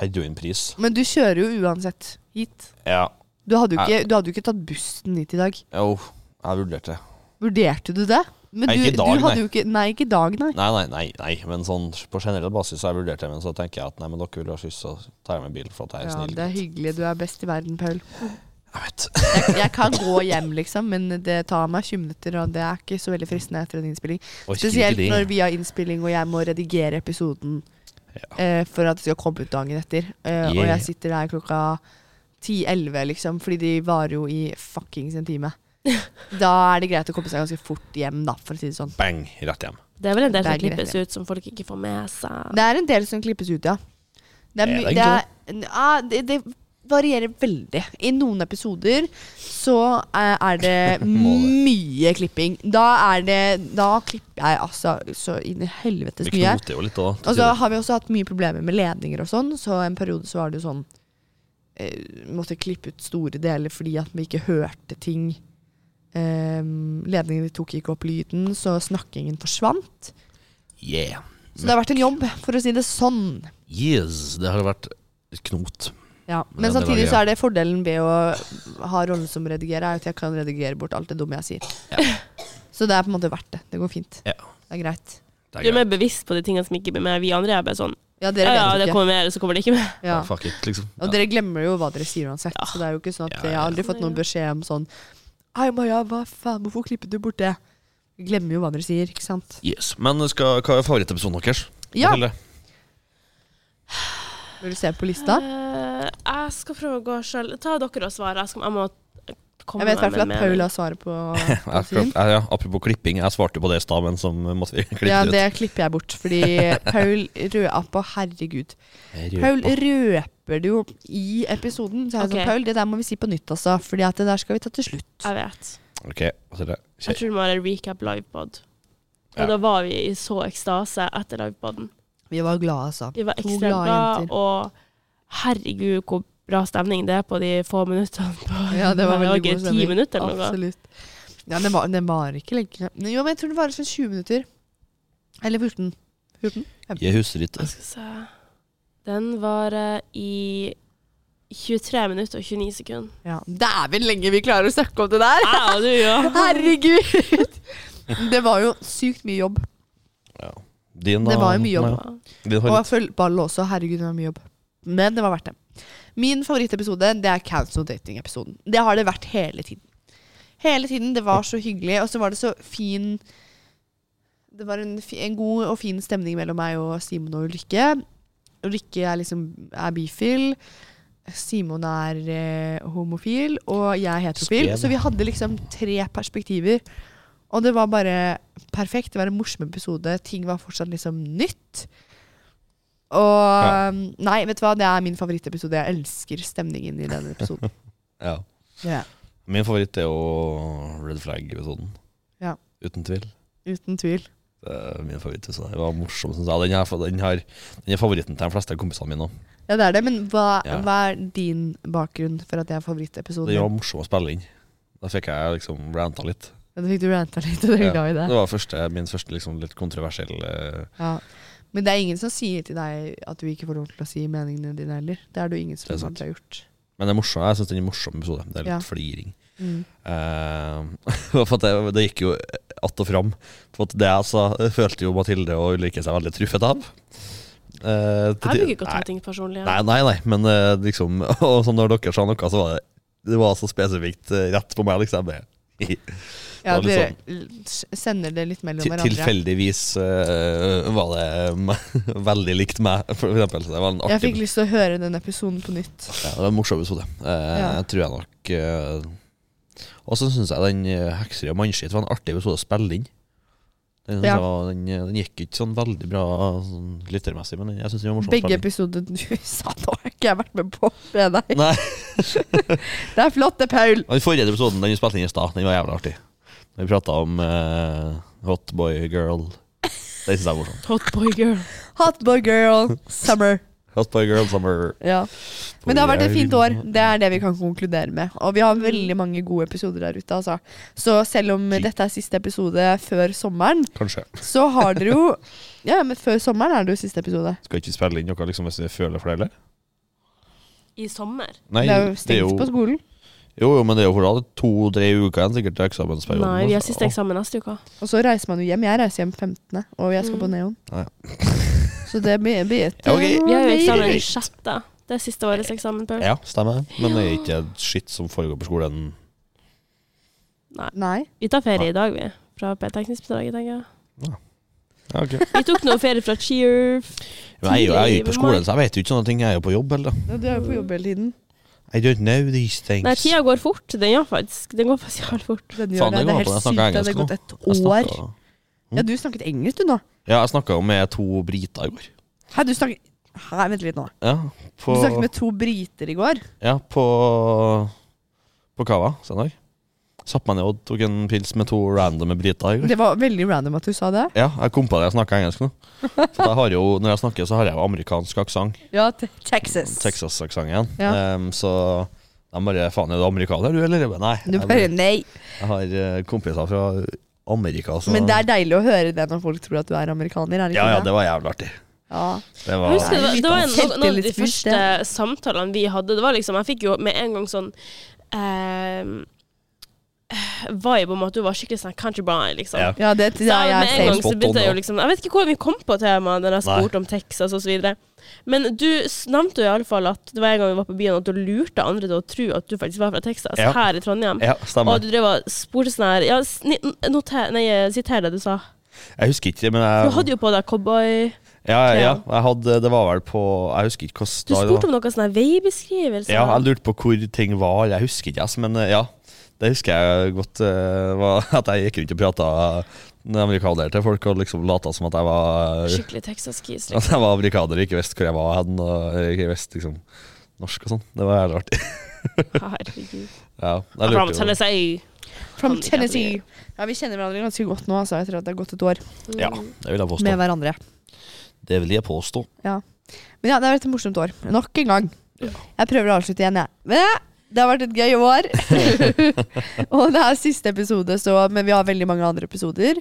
heroinpris. Men du kjører jo uansett hit. Ja. Du hadde jo ikke, du hadde jo ikke tatt bussen hit i dag. Jo, jeg vurderte det. Vurderte du det? Men Nei, du, ikke i dag, du hadde jo ikke, nei, ikke i dag, nei. Nei, nei, nei, nei, men sånn på generell basis så har jeg vurdert det, men så tenker jeg at nei, men dere vil ha skyss, så tar jeg med bil, for at jeg er Ja, snill. det er hyggelig. Du er best i verden, Paul. Jeg vet. Jeg, jeg kan gå hjem, liksom, men det tar meg 20 minutter, og det er ikke så veldig fristende etter en innspilling. Orker Spesielt ikke det. når vi har innspilling, og jeg må redigere episoden Ja. eh, for at det skal komme ut dagen etter. Eh, Og Yeah. jeg sitter der klokka 10-11, liksom, fordi de varer jo i fuckings en time. Da er det greit å komme seg ganske fort hjem, da, for å si det sånn. Bang, rett hjem. Det er vel en del som Det er greit, klippes ut som folk ikke får med seg. Det er en del som klippes ut, ja. Det, Er my- det det, er, ja, det, det varierer veldig. I noen episoder så er er det Må mye klipping. Da er det Da klipper jeg altså så inn i helvetes Vi mye. knoter jo litt da. til Og så tider. har vi også hatt mye problemer med ledninger og sånn, så en periode så var det jo sånn eh, Måtte klippe ut store deler fordi at vi ikke hørte ting. Eh, ledningene tok ikke opp lyden, så snakkingen forsvant. Yeah. Så det har vært en jobb, for å si det sånn. Yes, det har vært knot. Ja, Men Men det var samtidig gøy. så er det fordelen ved å ha rollen som redigerer, er at jeg kan redigere bort alt det dumme jeg sier. Så det er på en måte verdt det. Det går fint. Ja. Det er greit. Det Du er mer bevisst på de tingene som ikke blir med. Vi andre er bare sånn Ja, Ja, dere ja, det vet jo ikke. kommer med, eller så kommer det ikke med. Ja. Fuck it, liksom. Og dere glemmer jo hva dere sier uansett. Ja. Så det er jo ikke sånn at Ja, jeg har aldri fått noen beskjed om sånn Hei, Maja, hva faen, hvorfor klippet du bort det? Dere glemmer jo hva dere sier, ikke sant? Yes. Men skal, hva er favorittepisoden deres? Ja. Mathilde? Når du ser på lista. Eh, jeg skal prøve å gå sjøl. Ta dere og svare. Jeg, skal, jeg må komme Jeg vet i hvert meg med fall at en mening. Paula svarer på, på Jeg, sin. prøv- ja, apropos klipping, jeg svarte jo på det i stad, men så måtte vi klippe Ja, det ut. det klipper jeg bort, fordi Paul rødapa, herregud. Jeg Paul røper. røper det jo i episoden. Så jeg er Ok. sånn, Paul, det der må vi si på nytt, altså. Fordi at det der skal vi ta til slutt. Jeg vet. Ok, Mathilde. Jeg Kjør. tror det var en recap livepod. Og Ja. da var vi i så ekstase etter livepoden. Vi var glade, altså. Vi var To ekstremt glade glade, jenter. og herregud hvor bra stemning det er på de få minuttene. På, Ja, det var veldig ikke god Ti stemning. minutter eller noe. Absolutt. Ja, den var, den var ikke lenge. Men Jo, men jeg tror den varer sånn 20 minutter. Eller 14. 14? Jeg husker ikke. Jeg Altså- skal se. Den varer i 23 minutter og 29 sekunder. Ja. Dæven lenge vi klarer å snakke om det der! Jeg og du, ja. Herregud! Det var jo sykt mye jobb. Din, da, Det var jo mye jobb. Maja? Din Og favoritt. jeg følger ballen også. Herregud, det var mye jobb. Men det var verdt det. Min favorittepisode det er Cancel Dating-episoden. Det har det vært hele tiden. Hele tiden. Det var så hyggelig, og så var det så fin Det var en, fi- en god og fin stemning mellom meg og Simon og Ulrikke. Ulrikke er liksom er bifil. Simon er eh, homofil, og jeg er heterofil. Skrev. Så vi hadde liksom tre perspektiver. Og det var bare perfekt. Det var en morsom episode. Ting var fortsatt liksom nytt. Og um, Nei, vet du hva? Det er min favorittepisode. Jeg elsker stemningen i den episoden. Ja. Min favoritt er jo Red Flag-episoden. Ja. Uten tvil. Uten tvil. Det er min favoritt. Så det var morsom, synes jeg. Den, er, den, har, den er favoritten til de fleste av kompisene mine òg. Ja, det er det. Men hva, Ja. hva er din bakgrunn for at det er favorittepisoden? Den var din? morsom å spille inn. Da fikk jeg liksom ranta litt. Ja, da fikk du ranta litt, og du er Ja. glad i Det det. var første, min første liksom litt kontroversielle Ja. Men det er ingen som sier til deg at du ikke får lov til å si meningene dine heller. Det er det jo ingen som Det er sant. aldri har gjort. Men det er morsom, jeg syns den er en morsom episode. Det er litt Ja. fliring. Mm. Eh, for at det, det gikk jo att og fram. For at det jeg sa, følte jo Mathilde og Ulrikke seg veldig truffet av. Eh, til Jeg ti- bruker ikke å ta ting personlig. Nei, nei, nei, men eh, liksom Og så når dere sa noe, så var det Det var så spesifikt eh, rett på meg, liksom. Jeg Ja, Det var litt sånn dere l- sender det litt mellom Til- hverandre. Tilfeldigvis eh, var det eh, veldig likt meg, for eksempel. Så det var en Jeg artig fikk lyst til å høre den episoden på nytt. ja, Det var en morsom episode. Eh, Ja. Tror jeg nok. eh, og så syns jeg den eh, 'Hekser og mannskitt' var en artig episode å spille inn. Den, synes Ja. jeg var, den, den gikk ikke sånn veldig bra sånn, lyttermessig, men jeg syns den var morsom. Begge spilling. episodene du sa nå, har ikke jeg vært med på med deg. Nei, Det er flott, det, Paul. Den forrige episoden den vi spilte inn i stad, den var jævlig artig. Da vi prata om eh, hot boy girl. Det syns jeg er morsomt. Hotboy girl. Hotboy girl summer. Hot boy girl summer. Ja. Men det har vært et fint år. Det er det vi kan konkludere med. Og vi har veldig mange gode episoder der ute, altså. Så selv om dette er siste episode før sommeren, Kanskje. så har dere jo Ja, men før sommeren er det jo siste episode. Skal ikke spille inn noe liksom, hvis vi føler for det, eller? I sommer? Nei, det er jo stengt på skolen. Jo, jo, men det er jo fortsatt to-tre uker igjen sikkert til eksamensperioden. Nei, vi har altså. siste eksamen neste uke. Og så reiser man jo hjem. Jeg reiser hjem 15., og jeg skal på Mm. Neon. Ja, Så det blir blir et Ja, ok. Vi har jo eksamen Greit. i sjette. Det er siste årets eksamen, Paul. Ja, stemmer. Men det er ikke skitt som foregår på skolen. Nei. Vi tar ferie i dag, vi. Fra teknisk bedrag, tenker jeg. Ja, ok. Vi tok nå ferie fra Cheer. Men jeg er jo jeg er jo på skolen, så jeg vet jo ikke sånne ting. Jeg er jo på jobb, eller? Ja, du er jo på jobb hele tiden. I don't know these things. Nei, tida går fort. Den gjør faktisk Den går faktisk jævlig fort. Den Faen, gjør det. den Det er går helt på. Jeg sykt. snakker engelsk Det hadde gått et Jeg år. snakket- Ja, du snakket engelsk, du nå. Ja, jeg snakka med to briter i går. Hæ, du snakket Hæ, vent litt nå. Ja, Du på, snakket med to briter i går. ja, på, på Cava søndag. Satt meg ned og tok en pils med to randome briter i går. Det var veldig random at du sa det. Ja, jeg kom på det. Jeg snakker engelsk nå. For jeg har jo, når jeg snakker, så har jeg jo amerikansk aksent. Ja, te- Texas. Texas-aksent igjen. Ja. Ehm, så de bare Faen, er du amerikaner, du, eller? Jeg bare, Nei. Du jeg, bare bare, nei. jeg har eh, kompiser fra Amerika, så Men det er deilig å høre det når folk tror at du er amerikaner. Er det ikke Ja, ja, det? det var jævlig artig. Ja. Det var Husker, du, det var- det var en, Kjempelyst noen av de boost, første samtalene vi hadde. Det var liksom, Jeg fikk jo med en gang sånn eh, vibe om at du var skikkelig sånn country boy, liksom. Ja. ja, det det Så er med en jeg gang safe. så Spot begynte jeg jo on, da. liksom Jeg vet ikke hvordan vi kom på temaet når jeg Nei. spurte om Texas osv. Men du s- nevnte jo iallfall at det var en gang vi var på byen at du lurte andre til å tro at du faktisk var fra Texas, Ja. her i Trondheim. Ja, Og stemmer. du drev og spurte sånn her ja, s- ni- noter, Nei, eh, siter det du sa. Jeg husker ikke, men Du jeg hadde jo på deg cowboy ja, ja, ja, jeg hadde, Det var vel på Jeg husker ikke Du hvordan spurte om noe sånn her veibeskrivelse. Ja, jeg lurte på hvor ting var. Jeg husker ikke, ass, men eh, ja. Det husker jeg godt. eh, var at jeg gikk rundt og prata amerikaner til folk og liksom lata som at jeg var eh, Skikkelig Texas-kis. Liksom. At jeg var amerikaner og ikke visste hvor jeg var hen, og ikke visste liksom norsk og sånn. Det var jævlig artig. Herregud. Ja, jeg From lurte jo. Tennessee. From Tennessee. Ja, vi kjenner hverandre ganske godt nå, altså, etter at det har gått et år Mm. Ja, det vil jeg påstå. med hverandre. Det vil jeg påstå. Men ja, det har vært et morsomt år. Nok en gang. Jeg prøver å avslutte igjen, jeg. Men ja, det har vært et gøy år. og det er siste episode, så, men vi har veldig mange andre episoder.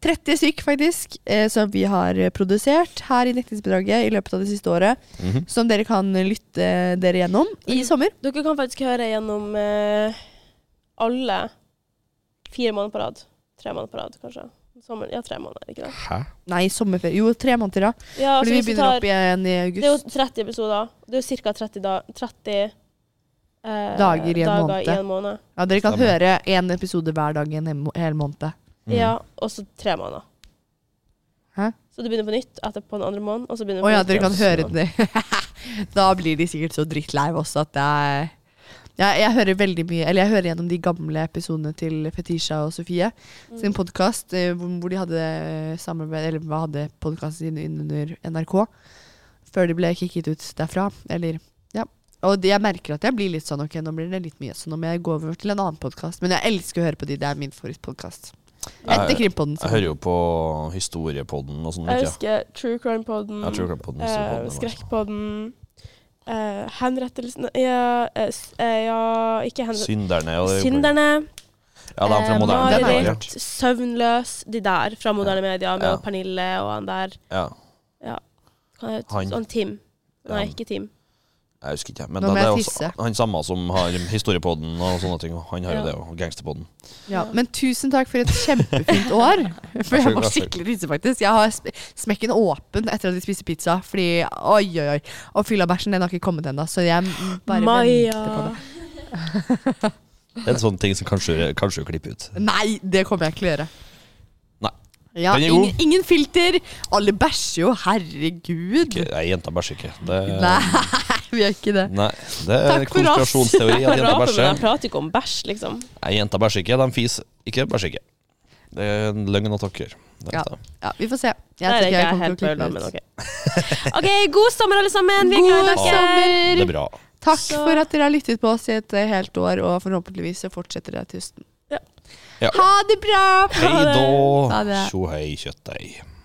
30 stykk, faktisk, eh, som vi har eh, produsert her i Nektingsbedraget i løpet av det siste året. Mhm. Som dere kan lytte dere gjennom Mm. i sommer. Dere kan faktisk høre gjennom eh, alle fire måneder på rad. Tre måneder på rad, kanskje. Sommer, ja, tre måneder, ikke det? Hæ? Nei, sommerferie. Jo, tre måneder, ja. Ja, så Fordi vi hvis du begynner tar- opp igjen i Det er jo august. 30 episoder. Det er jo ca. 30, da, 30 eh, Dager i en dager måned. i en måned. Ja, dere kan Stemmer. høre én episode hver dag i en hel- hel måned. Mm. Ja, og så tre måneder. Hæ? Så du begynner på nytt etterpå den andre måneden, og så begynner du Å på ja, nytt dere igjen. kan høre det. da blir de sikkert så drittlei av oss at det er ja, Jeg hører veldig mye Eller jeg hører gjennom de gamle episodene til Fetisha og Sofie sin podkast, hvor de hadde samarbeid Eller hva hadde podkasten sin inn under NRK før de ble kicket ut derfra. Eller Ja. Og det, jeg merker at jeg blir litt sånn OK, nå blir det litt mye, så nå må jeg gå over til en annen podkast. Men jeg elsker å høre på de. Det er min favorittpodkast. Etter Jeg, Krimpodden. så- jeg hører jo på historiepodden og sånn. Jeg ikke? husker True Crime-poden, Jeg tror på den eh, historiepodden. altså. Skrekkpodden, eh, Henrettelsen ja, eh, s- eh, ja, ikke altså. henrettelsen. Synderne og Synderne, Ja, de fra eh, moderne Den har jeg media. Marit, Søvnløs, de der fra moderne media, med Ja. Pernille og han der. Ja, Hva heter Han. han? Sånn Tim. Nei, Han. ikke Tim. jeg husker ikke. Men da, Nå må det jeg er tisse. også han samme som har historiepodden og sånne ting. og Han har jo Ja. det, og gangsterpodden. Ja, men tusen takk for et kjempefint år. For jeg må skikkelig tisse, faktisk. Jeg har sp- smekken åpen etter at vi spiste pizza, fordi oi, oi, oi. Og fyllabæsjen, den har ikke kommet ennå, så jeg m- bare Maja. venter på det. Det er en sånn ting som kanskje, kanskje klipper ut. Nei, det kommer jeg ikke til å gjøre. Nei. Ja, Den er god. ingen, ingen filter. Alle bæsjer jo, herregud. Ikke- eh. Nei, jenta bæsjer ikke. Det, Nei, vi gjør ikke det. nei, det er Takk for oss. konspirasjonsteori at Jeg jenta raper, men bæsjer. jeg prater ikke om bæsj, liksom. Nei, jenta bæsjer ikke, de fis ikke, bæsjer ikke. Det er en løgn og takker. Det Ja. er det. Ja, vi får se. Nei, det er ikke jeg kommer helt til å klippe bølla, men ut. ok. Ok, god sommer alle sammen. Vi er glad i God dere. det sommer! er bra. Takk Så- for at dere har lyttet på oss i et eh, helt år, og forhåpentligvis så fortsetter det til høsten. Ja. Ja. Ha det bra! Hei Ha det. da. Ha det. Tjo hei, kjøttdeig.